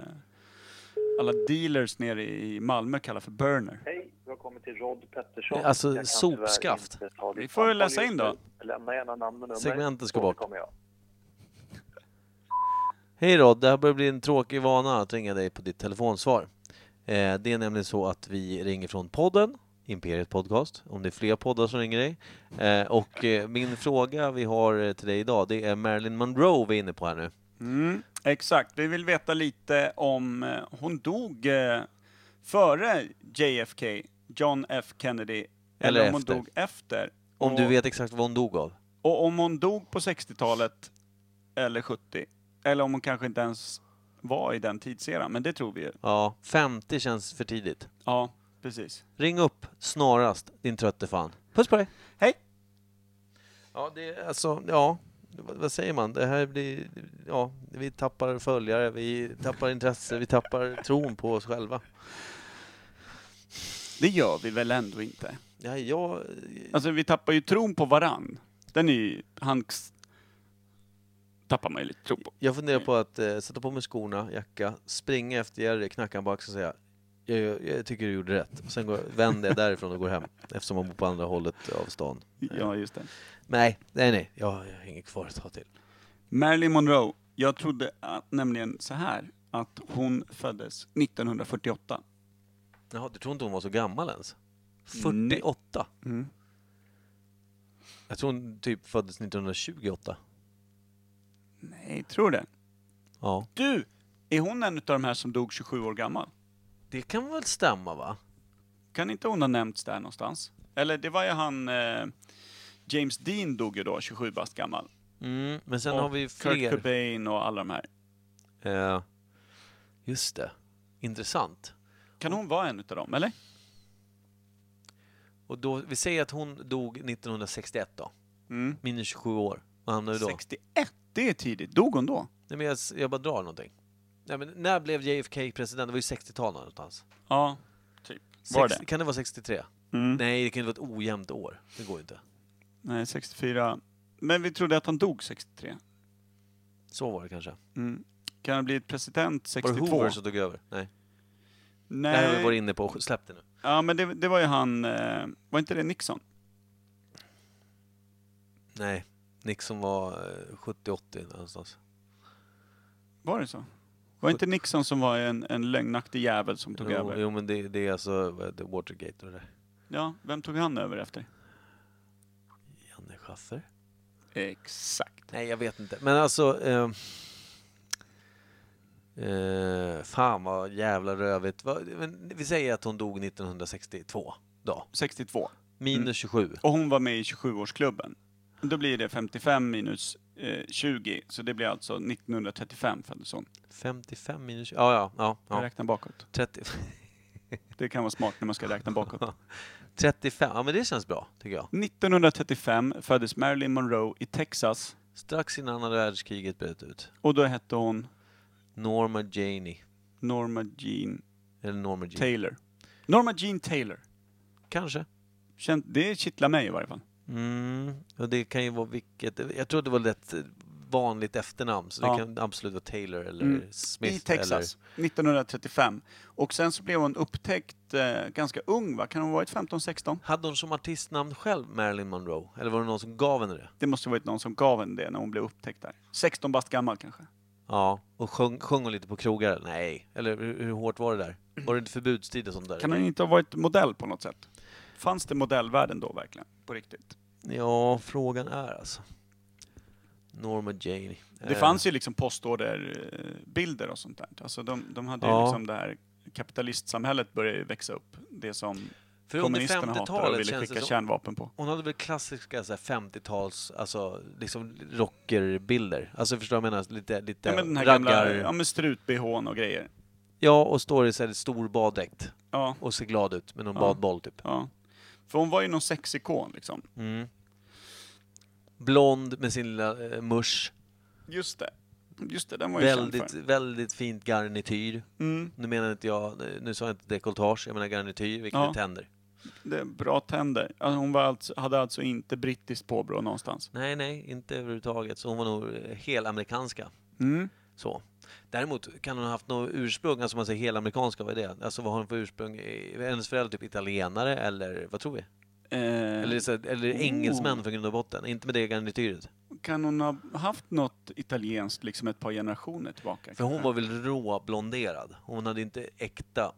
Speaker 1: alla dealers nere i Malmö kallar för burner.
Speaker 10: Hej, du har kommit till Rod Pettersson.
Speaker 2: Alltså,
Speaker 10: Jag kan
Speaker 2: sopskaft.
Speaker 10: tyvärr inte ta ditt
Speaker 1: Vi får väl
Speaker 10: samtal
Speaker 1: läsa
Speaker 10: just
Speaker 1: in då.
Speaker 10: nu. Lämna gärna namn och nummer.
Speaker 2: Segmentet ska
Speaker 10: Då
Speaker 2: bort.
Speaker 10: kommer jag.
Speaker 2: Hej Rod, det här börjar bli en tråkig vana att ringa dig på ditt telefonsvar. Eh, det är nämligen så att vi ringer från podden, Imperiet Podcast, om det är fler poddar som ringer dig. Eh, och eh, min fråga vi har eh, till dig idag, det är Marilyn Monroe vi är inne på här nu.
Speaker 1: Mm, exakt, vi vill veta lite om... eh, Hon dog eh, före JFK, John F Kennedy, eller,
Speaker 2: Eller
Speaker 1: om hon
Speaker 2: efter.
Speaker 1: dog efter.
Speaker 2: Om
Speaker 1: och,
Speaker 2: du vet exakt vad hon dog av.
Speaker 1: och om hon dog på 60-talet eller 70, eller om hon kanske inte ens var i den tidseran, men det tror vi ju.
Speaker 2: Ja, 50 känns för tidigt.
Speaker 1: Ja, precis.
Speaker 2: Ring upp snarast, din trötte fan. Puss på dig!
Speaker 1: Hej!
Speaker 2: Ja, det är alltså, ja. Vad vad säger man? Det här blir, ja, vi tappar följare, vi tappar intresse, vi tappar tron på oss själva.
Speaker 1: Det gör vi väl ändå inte?
Speaker 2: Ja, jag...
Speaker 1: Alltså vi tappar ju tron på varann. Den är ju... Han... tappar man ju lite tro på.
Speaker 2: Jag funderar på att eh, sätta på mig skorna, jacka, springa efter Jerry, knacka han på axeln och säga jag, jag, jag tycker du gjorde rätt. Och sen går, vänder jag därifrån och går hem eftersom man bor på andra hållet av stan.
Speaker 1: Ja, just det.
Speaker 2: Nej, nej, nej. Jag, har- jag har inget kvar att ta till.
Speaker 1: Marilyn Monroe. Jag trodde att, nämligen så här, att hon föddes 1948.
Speaker 2: Jaha, du tror inte hon var så gammal ens?
Speaker 1: Nej.
Speaker 2: 48?
Speaker 1: Mm.
Speaker 2: Jag tror hon typ föddes 1928.
Speaker 1: Nej, tror det.
Speaker 2: Ja.
Speaker 1: Du! Är hon en av de här som dog 27 år gammal?
Speaker 2: Det kan väl stämma va?
Speaker 1: Kan inte hon ha nämnts där någonstans? Eller det var ju han... Eh, James Dean dog ju då, 27 bast gammal.
Speaker 2: Mm, men sen har vi ju
Speaker 1: Kurt
Speaker 2: fler.
Speaker 1: Cobain och alla de här.
Speaker 2: Eh, just det. Intressant.
Speaker 1: Kan hon vara en utav dem, eller?
Speaker 2: Och då, vi säger att hon dog 1961 då.
Speaker 1: Mm.
Speaker 2: Minus 27 år. Vad hamnade vi då?
Speaker 1: 61, det är tidigt. Dog hon då?
Speaker 2: Nej, men jag, jag bara drar någonting. Nej, men när blev JFK president? Det var ju 60-tal någonstans.
Speaker 1: Ja, typ. Var
Speaker 2: Sex-
Speaker 1: det?
Speaker 2: Kan det vara 63?
Speaker 1: Mm.
Speaker 2: Nej, det kan ju vara ett ojämnt år. Det går ju inte.
Speaker 1: Nej, 64. Men vi trodde att han dog 63.
Speaker 2: Så var det kanske.
Speaker 1: Mm. Kan han bli president
Speaker 2: Var det
Speaker 1: 62?
Speaker 2: Hoover som tog över? Nej. Det här har vi varit
Speaker 1: Nej.
Speaker 2: inne på. Släpp det nu.
Speaker 1: Ja, men det, det var ju han... Eh, var inte det Nixon?
Speaker 2: Nej. Nixon var eh, 70-80 någonstans.
Speaker 1: Var det så? Var inte Nixon som var en, en lögnaktig jävel som tog
Speaker 2: jo,
Speaker 1: över?
Speaker 2: jo, men det, det är alltså vad heter det, Watergate och det där.
Speaker 1: Ja, vem tog han över efter?
Speaker 2: Janne Schaffer?
Speaker 1: Exakt.
Speaker 2: Nej, jag vet inte. Men alltså... Eh, eh, fan vad jävla rövigt. Va, men vi säger att hon dog 1962 då.
Speaker 1: 62. Mm.
Speaker 2: Minus 27.
Speaker 1: Och hon var med i 27-årsklubben. Då blir det 55 minus eh, 20, så det blir alltså 1935 föddes hon.
Speaker 2: 55 minus... Ja, ja, ja.
Speaker 1: Jag
Speaker 2: ja.
Speaker 1: räknar bakåt.
Speaker 2: 30,
Speaker 1: Det kan vara smart när man ska räkna bakåt.
Speaker 2: 35. Ja, men det känns bra, tycker jag.
Speaker 1: 1935 föddes Marilyn Monroe i Texas
Speaker 2: Strax innan andra världskriget bröt ut.
Speaker 1: och då hette hon
Speaker 2: Norma Janey.
Speaker 1: Norma Jean
Speaker 2: Eller Norma Jean.
Speaker 1: Taylor. Norma Jean Taylor.
Speaker 2: Kanske.
Speaker 1: Känt, det kittlar mig i varje fall.
Speaker 2: Mm. Och det kan ju vara vilket... Jag tror det var lätt vanligt efternamn, så
Speaker 1: Ja.
Speaker 2: det kan absolut vara Taylor eller
Speaker 1: Mm.
Speaker 2: Smith.
Speaker 1: I Texas, 1935. Och sen så blev hon upptäckt eh, ganska ung, va? Kan hon ha varit 15-16?
Speaker 2: Eller... Hade hon som artistnamn själv Marilyn Monroe? Eller var det någon som gav henne det?
Speaker 1: Det måste ha varit någon som gav henne det när hon blev upptäckt där. 16 bast gammal kanske.
Speaker 2: Ja. Och sjöng, sjöng hon lite på krogar? Nej. Eller hur, hur hårt var det där? Var det inte förbudstid och sånt där?
Speaker 1: Kan hon inte ha varit modell på något sätt? Fanns det modellvärlden då verkligen? På riktigt?
Speaker 2: Ja, frågan är alltså. Norma Jane.
Speaker 1: Det fanns ju liksom postorderbilder och sånt där. Alltså de, de hade ju
Speaker 2: Ja.
Speaker 1: liksom det här kapitalistsamhället började ju växa upp. Det som
Speaker 2: Eh, För under
Speaker 1: kommunisterna hatade och
Speaker 2: 50-talet
Speaker 1: ville
Speaker 2: känns
Speaker 1: skicka
Speaker 2: det som...
Speaker 1: kärnvapen på.
Speaker 2: Hon hade väl klassiska så här 50-tals, alltså liksom rockerbilder. Alltså förstår du vad jag menar? Lite, lite
Speaker 1: Ja men den här
Speaker 2: raggar...
Speaker 1: gamla, ja men strut-bhn och grejer.
Speaker 2: Ja, och står i så här stor baddräkt
Speaker 1: Ja,
Speaker 2: och ser glad ut med någon
Speaker 1: Ja.
Speaker 2: badboll typ.
Speaker 1: ja. För hon var ju någon sexikon liksom.
Speaker 2: Mm. Blond med sin lilla eh, musch.
Speaker 1: Just det. Just det, den var ju känd
Speaker 2: Väldigt,
Speaker 1: för.
Speaker 2: väldigt fint garnityr.
Speaker 1: Mm,
Speaker 2: Nu menar inte jag, nu sa jag inte dekolletage, jag menar garnityr, vilket
Speaker 1: Ja.
Speaker 2: är tänder.
Speaker 1: det är bra tänder. Alltså, hon var alltså, hade alltså inte brittiskt påbrå någonstans.
Speaker 2: Nej, nej, inte överhuvudtaget. Så hon var nog eh, helamerikanska.
Speaker 1: Mm.
Speaker 2: Så. Däremot kan hon ha haft något ursprung, alltså man säger helamerikanska, vad är det? Alltså vad har hon för ursprung? Eh, Hennes föräldrar typ italienare eller vad tror vi?
Speaker 1: Eh,
Speaker 2: Eller, liksom- så, eller
Speaker 1: oh.
Speaker 2: engelsmän från grund och botten, inte med det garnityret.
Speaker 1: Kan hon ha haft något italienskt liksom ett par generationer tillbaka?
Speaker 2: För hon
Speaker 1: kanske?
Speaker 2: var väl råblonderad? Hon hade inte äkta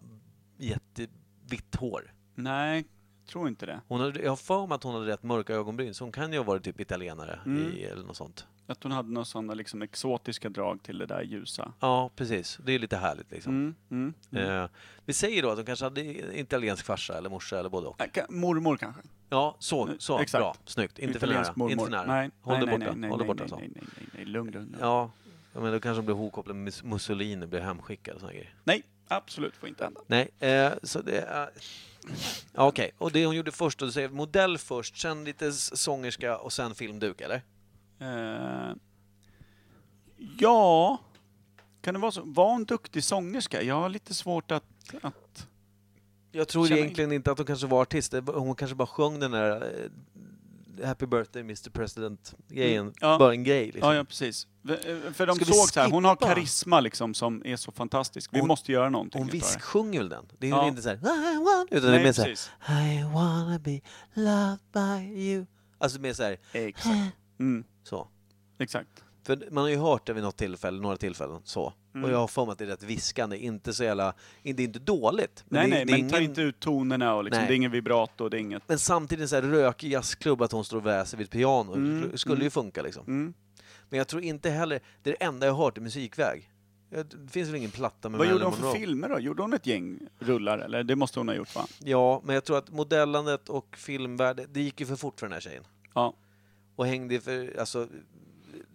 Speaker 2: jättevitt hår.
Speaker 1: Nej, tror inte det.
Speaker 2: Hon hade, jag har för mig att hon hade rätt mörka ögonbryn, så hon kan ju ha varit typ italienare
Speaker 1: Mm.
Speaker 2: i, eller något sånt.
Speaker 1: Att hon hade några sådana liksom exotiska drag till det där ljusa.
Speaker 2: Ja, precis. Det är lite härligt liksom.
Speaker 1: Mm, mm, mm.
Speaker 2: Eh, vi säger då att hon kanske hade italiensk farsa eller morsa eller både och.
Speaker 1: Äh, ka- Mormor kanske?
Speaker 2: Ja, så,
Speaker 1: Eh,
Speaker 2: så
Speaker 1: exakt.
Speaker 2: bra, snyggt. Inte för
Speaker 1: Italiensk
Speaker 2: nära. Inte för nära.
Speaker 1: Nej,
Speaker 2: Håll
Speaker 1: nej,
Speaker 2: dig
Speaker 1: nej,
Speaker 2: borta.
Speaker 1: Nej,
Speaker 2: Håll dig
Speaker 1: nej,
Speaker 2: borta.
Speaker 1: nej,
Speaker 2: så.
Speaker 1: nej, nej, nej, nej, lugn, lugn. lugn.
Speaker 2: Ja, ja, men då kanske hon blev hopkopplad med Mus- Mussolini, blev hemskickad och såna grejer.
Speaker 1: Nej, absolut får inte hända.
Speaker 2: Nej, eh, så det är... Ja, Okej, och det hon gjorde först, och du säger modell först, sen lite s- sångerska och sen filmduk, eller?
Speaker 1: Eh, ja, kan det vara så? Var hon duktig sångerska? Jag har lite svårt att... att
Speaker 2: Jag tror
Speaker 1: Känner
Speaker 2: egentligen inte att hon kanske var artist, det var- hon kanske bara sjöng den där eh, Happy birthday Mr President-grejen
Speaker 1: Mm, ja.
Speaker 2: bara en grej liksom.
Speaker 1: Ja, ja, precis. V- eh, För de
Speaker 2: Ska vi
Speaker 1: såg så här, hon har
Speaker 2: skippa?
Speaker 1: karisma liksom som är så fantastisk. Vi
Speaker 2: Hon-
Speaker 1: måste göra någonting
Speaker 2: Hon
Speaker 1: utav det.
Speaker 2: visksjunger väl den? Det är
Speaker 1: Ja.
Speaker 2: väl inte såhär I want, utan det
Speaker 1: Nej,
Speaker 2: är mer såhär
Speaker 1: precis.
Speaker 2: I wanna be loved by you Alltså mer såhär
Speaker 1: Exakt. Mm,
Speaker 2: så
Speaker 1: exakt.
Speaker 2: För man har ju hört det vid något tillfälle, några tillfällen så
Speaker 1: Mm.
Speaker 2: Och jag har för mig att det är rätt viskande, inte så jävla Det är inte dåligt
Speaker 1: nej,
Speaker 2: det,
Speaker 1: nej,
Speaker 2: det
Speaker 1: men
Speaker 2: är
Speaker 1: ta inte ut tonerna och liksom,
Speaker 2: Nej.
Speaker 1: det är ingen vibrato, det är inget...
Speaker 2: Men samtidigt så här rökig jazzklubb att hon står och väser vid ett piano
Speaker 1: Mm,
Speaker 2: Det skulle
Speaker 1: mm.
Speaker 2: ju funka liksom
Speaker 1: Mm.
Speaker 2: Men jag tror inte heller, det är det enda jag har hört i musikväg Jag- Det finns väl ingen platta med
Speaker 1: Vad gjorde
Speaker 2: Marilyn
Speaker 1: hon för
Speaker 2: Monroe.
Speaker 1: filmer då? Gjorde hon ett gäng rullar eller? Det måste hon ha gjort va?
Speaker 2: Ja, men jag tror att modellandet och filmvärlden, det gick ju för fort för den här tjejen.
Speaker 1: Ja.
Speaker 2: Och hängde i för, alltså,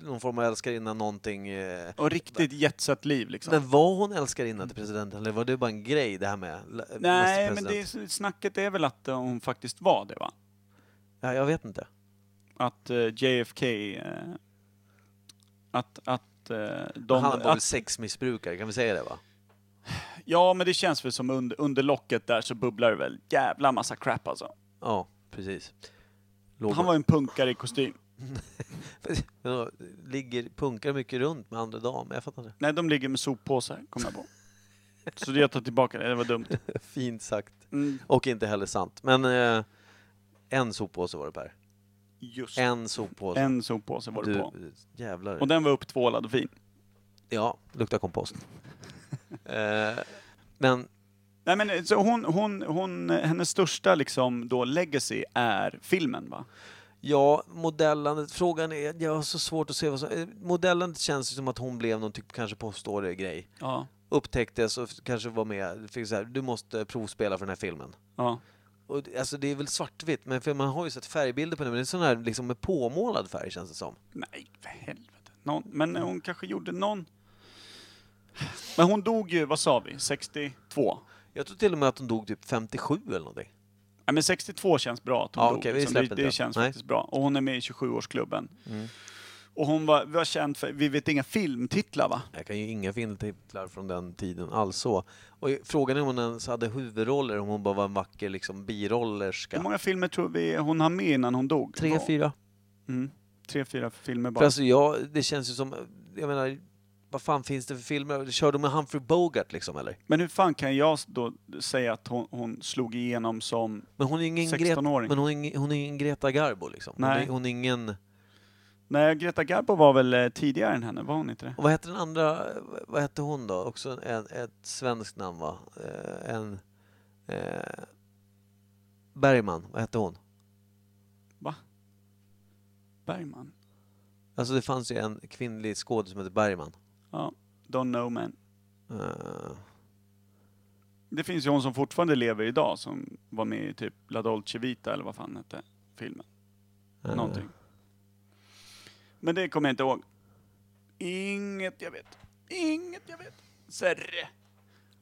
Speaker 2: någon form av älskarinna någonting. Eh.
Speaker 1: Och riktigt jetset liv liksom.
Speaker 2: Men var hon älskarinna till presidenten eller var det bara en grej det här med l- eh,
Speaker 1: Nej, men
Speaker 2: president?
Speaker 1: det, är- snacket är väl att eh, hon faktiskt var det va?
Speaker 2: Ja, jag vet inte.
Speaker 1: Att eh, JFK... eh, att... att eh, de,
Speaker 2: Men han var väl
Speaker 1: att,
Speaker 2: sexmissbrukare, kan vi säga det va?
Speaker 1: ja, men det känns väl som under, under locket där så bubblar det väl jävla massa crap alltså.
Speaker 2: Ja, precis. Låg
Speaker 1: Han var en punkare i kostym.
Speaker 2: Ja, Ligger, punkar mycket runt med andra damer, jag fattar inte.
Speaker 1: Nej, de ligger med soppåsar, kom jag på. Så det jag tar tillbaka det, det var dumt.
Speaker 2: Fint sagt.
Speaker 1: Mm,
Speaker 2: Och inte heller sant. Men eh, en soppåse var det Per.
Speaker 1: just
Speaker 2: En soppåse.
Speaker 1: En soppåse var det på.
Speaker 2: du, Jävlar.
Speaker 1: Och den var upptvålad och fin.
Speaker 2: Ja, luktar kompost. eh, men
Speaker 1: Nej men eh, så hon, hon, hon, eh, hennes största liksom då legacy är filmen va?
Speaker 2: ja, modellandet. Frågan är, jag har så svårt att se vad som... eh, Modellandet känns ju som att hon blev någon typ kanske påståelig grej.
Speaker 1: Ja.
Speaker 2: Upptäcktes och f- kanske var med. Fick så här, du måste provspela för den här filmen.
Speaker 1: Ja.
Speaker 2: Och, det- alltså det är väl svartvitt, men för man har ju sett färgbilder på den, men det är sån här liksom med påmålad färg känns det som.
Speaker 1: Nej för helvete. Någon, men hon kanske gjorde någon... Men hon dog ju, vad sa vi, 62?
Speaker 2: Jag tror till och med att hon dog typ 57 eller någonting.
Speaker 1: Nej men 62 känns bra att hon
Speaker 2: Ja,
Speaker 1: dog.
Speaker 2: okej, vi
Speaker 1: liksom.
Speaker 2: släpper
Speaker 1: det, det
Speaker 2: det.
Speaker 1: känns
Speaker 2: Nej. Mm.
Speaker 1: faktiskt bra. Och hon är med i 27-årsklubben. Och hon var, var känd för, vi vet inga filmtitlar va?
Speaker 2: Jag kan ju inga filmtitlar från den tiden alls så. Och frågan är om hon ens hade huvudroller, om hon bara var en vacker liksom birollerska.
Speaker 1: Hur många filmer tror vi hon har med innan hon dog?
Speaker 2: Tre,
Speaker 1: Var-
Speaker 2: fyra.
Speaker 1: Mm. Tre, fyra filmer
Speaker 2: För
Speaker 1: bara.
Speaker 2: alltså jag, det känns ju som, jag menar, vad fan finns det för filmer? Kör de med Humphrey Bogart liksom eller?
Speaker 1: Men hur fan kan jag då säga att hon, hon slog igenom som
Speaker 2: Men hon är ingen, Greta,
Speaker 1: 16-åring?
Speaker 2: men hon är ingen, hon är ingen Greta Garbo liksom. Hon
Speaker 1: Nej.
Speaker 2: är, hon är ingen,
Speaker 1: Nej, Greta Garbo var väl eh, tidigare än henne, var hon inte det?
Speaker 2: och vad hette den andra, vad hette hon då? Också en- en, ett svenskt namn va? Eh, En, eh, Bergman, vad hette hon?
Speaker 1: Bergman?
Speaker 2: Alltså det fanns ju en kvinnlig skådespelare som hette Bergman.
Speaker 1: Ja, Don't know man.
Speaker 2: Eh,
Speaker 1: Det finns ju hon som fortfarande lever idag som var med i typ La Dolce Vita eller vad fan hette filmen.
Speaker 2: eh,
Speaker 1: Någonting. Men det kommer jag inte ihåg. Inget jag vet. Inget jag vet. Serre.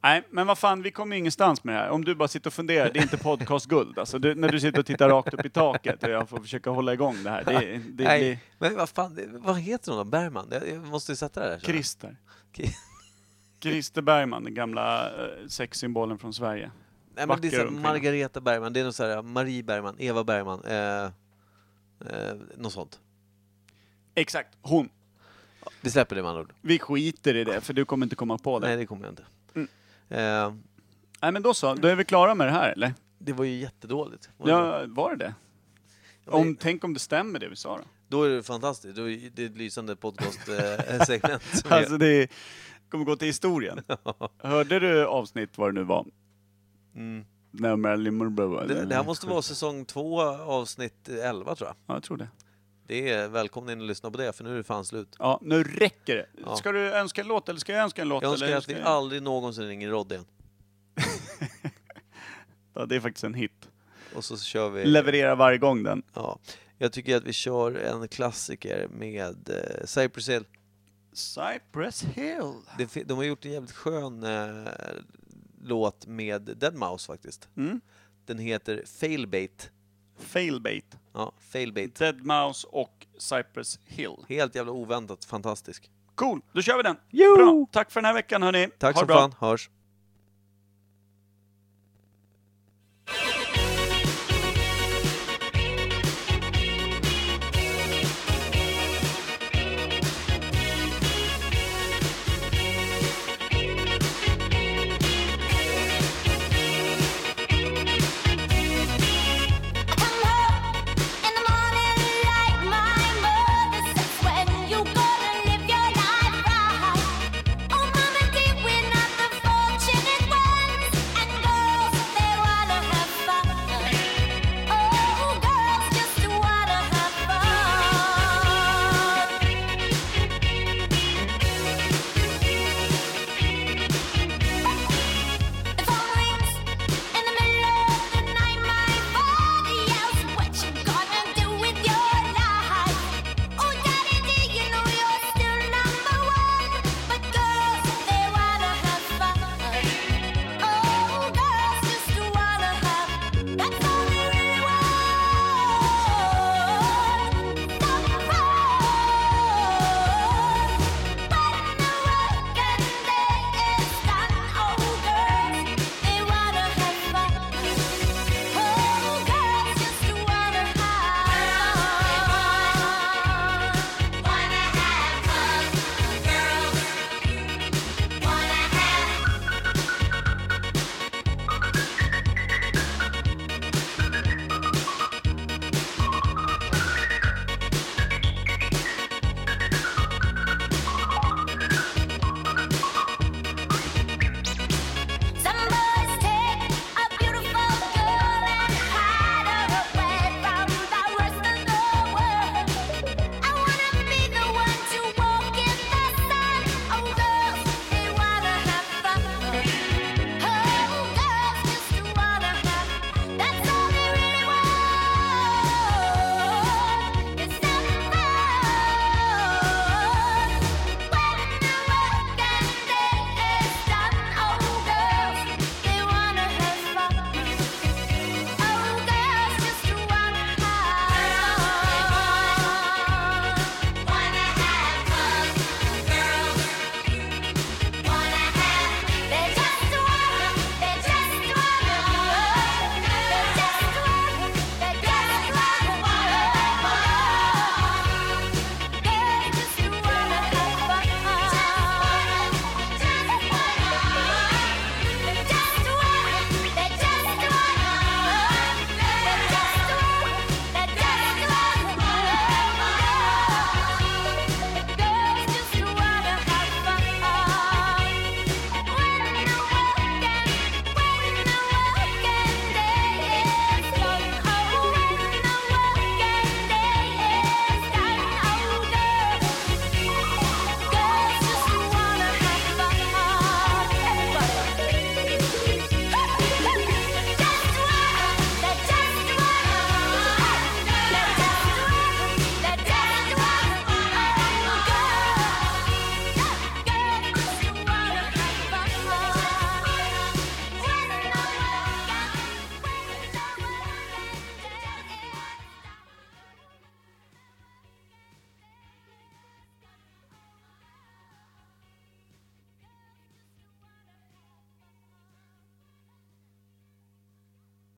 Speaker 1: Nej, men vad fan, vi kommer ju ingenstans med det här. Om du bara sitter och funderar, det är inte podcastguld. Alltså, du, när du sitter och tittar rakt upp i taket och jag får försöka hålla igång det här. Det, det, det blir
Speaker 2: Nej, men vad fan, det- vad heter hon då? Bergman? Jag, jag måste ju sätta det här. känner jag.
Speaker 1: Christer.
Speaker 2: Ki-
Speaker 1: Christer Bergman, den gamla eh, sexsymbolen från Sverige.
Speaker 2: Nej, men det är
Speaker 1: Vacker
Speaker 2: så här,
Speaker 1: ung kvinna.
Speaker 2: Margareta Bergman, det är någon så här, Marie Bergman, Eva Bergman, eh, eh, något sånt.
Speaker 1: Exakt, hon.
Speaker 2: Vi släpper det med andra ord.
Speaker 1: Vi skiter i det, för du kommer inte komma på det.
Speaker 2: Nej,
Speaker 1: Nej,
Speaker 2: det kommer jag inte.
Speaker 1: Mm.
Speaker 2: Eh,
Speaker 1: men då så, då är vi klara med det här eller?
Speaker 2: det var ju jättedåligt. Var det inte?
Speaker 1: Ja, var det det?
Speaker 2: det-
Speaker 1: Om, tänk om det stämmer det vi sa då?
Speaker 2: Då är det fantastiskt, då är det ett lysande eh, podcast-segment.
Speaker 1: Alltså det är- kommer gå till historien. Hörde du avsnitt vad det nu var?
Speaker 2: mm.
Speaker 1: När Marilyn Monroe...
Speaker 2: det, det här måste vara säsong två, avsnitt 11 tror jag.
Speaker 1: Ja, jag tror det.
Speaker 2: Det är välkomna in och lyssna på det, för nu är det fan slut.
Speaker 1: Ja, nu räcker det.
Speaker 2: Ja.
Speaker 1: Ska du önska en låt eller ska jag önska en låt?
Speaker 2: Jag önskar
Speaker 1: eller
Speaker 2: att
Speaker 1: ska
Speaker 2: vi
Speaker 1: jag-
Speaker 2: aldrig någonsin ringer Rod igen.
Speaker 1: ja, det är faktiskt en hit.
Speaker 2: Och så kör vi...
Speaker 1: Leverera varje gång den.
Speaker 2: Ja. Jag tycker att vi kör en klassiker med eh, Cypress Hill.
Speaker 1: Cypress Hill.
Speaker 2: Det, fi- de har gjort en jävligt skön eh, låt med Deadmau5 faktiskt.
Speaker 1: Mm.
Speaker 2: Den heter Failbait.
Speaker 1: Failbait.
Speaker 2: Ja, Failbait.
Speaker 1: Dead Mouse och Cypress Hill.
Speaker 2: Helt jävla oväntat fantastisk.
Speaker 1: Cool, då kör vi den.
Speaker 2: Jo!
Speaker 1: Bra. Tack för den här veckan hörni.
Speaker 2: Tack
Speaker 1: Ha
Speaker 2: som
Speaker 1: det bra.
Speaker 2: fan, hörs.
Speaker 4: Oh, Oh, Oh, Oh,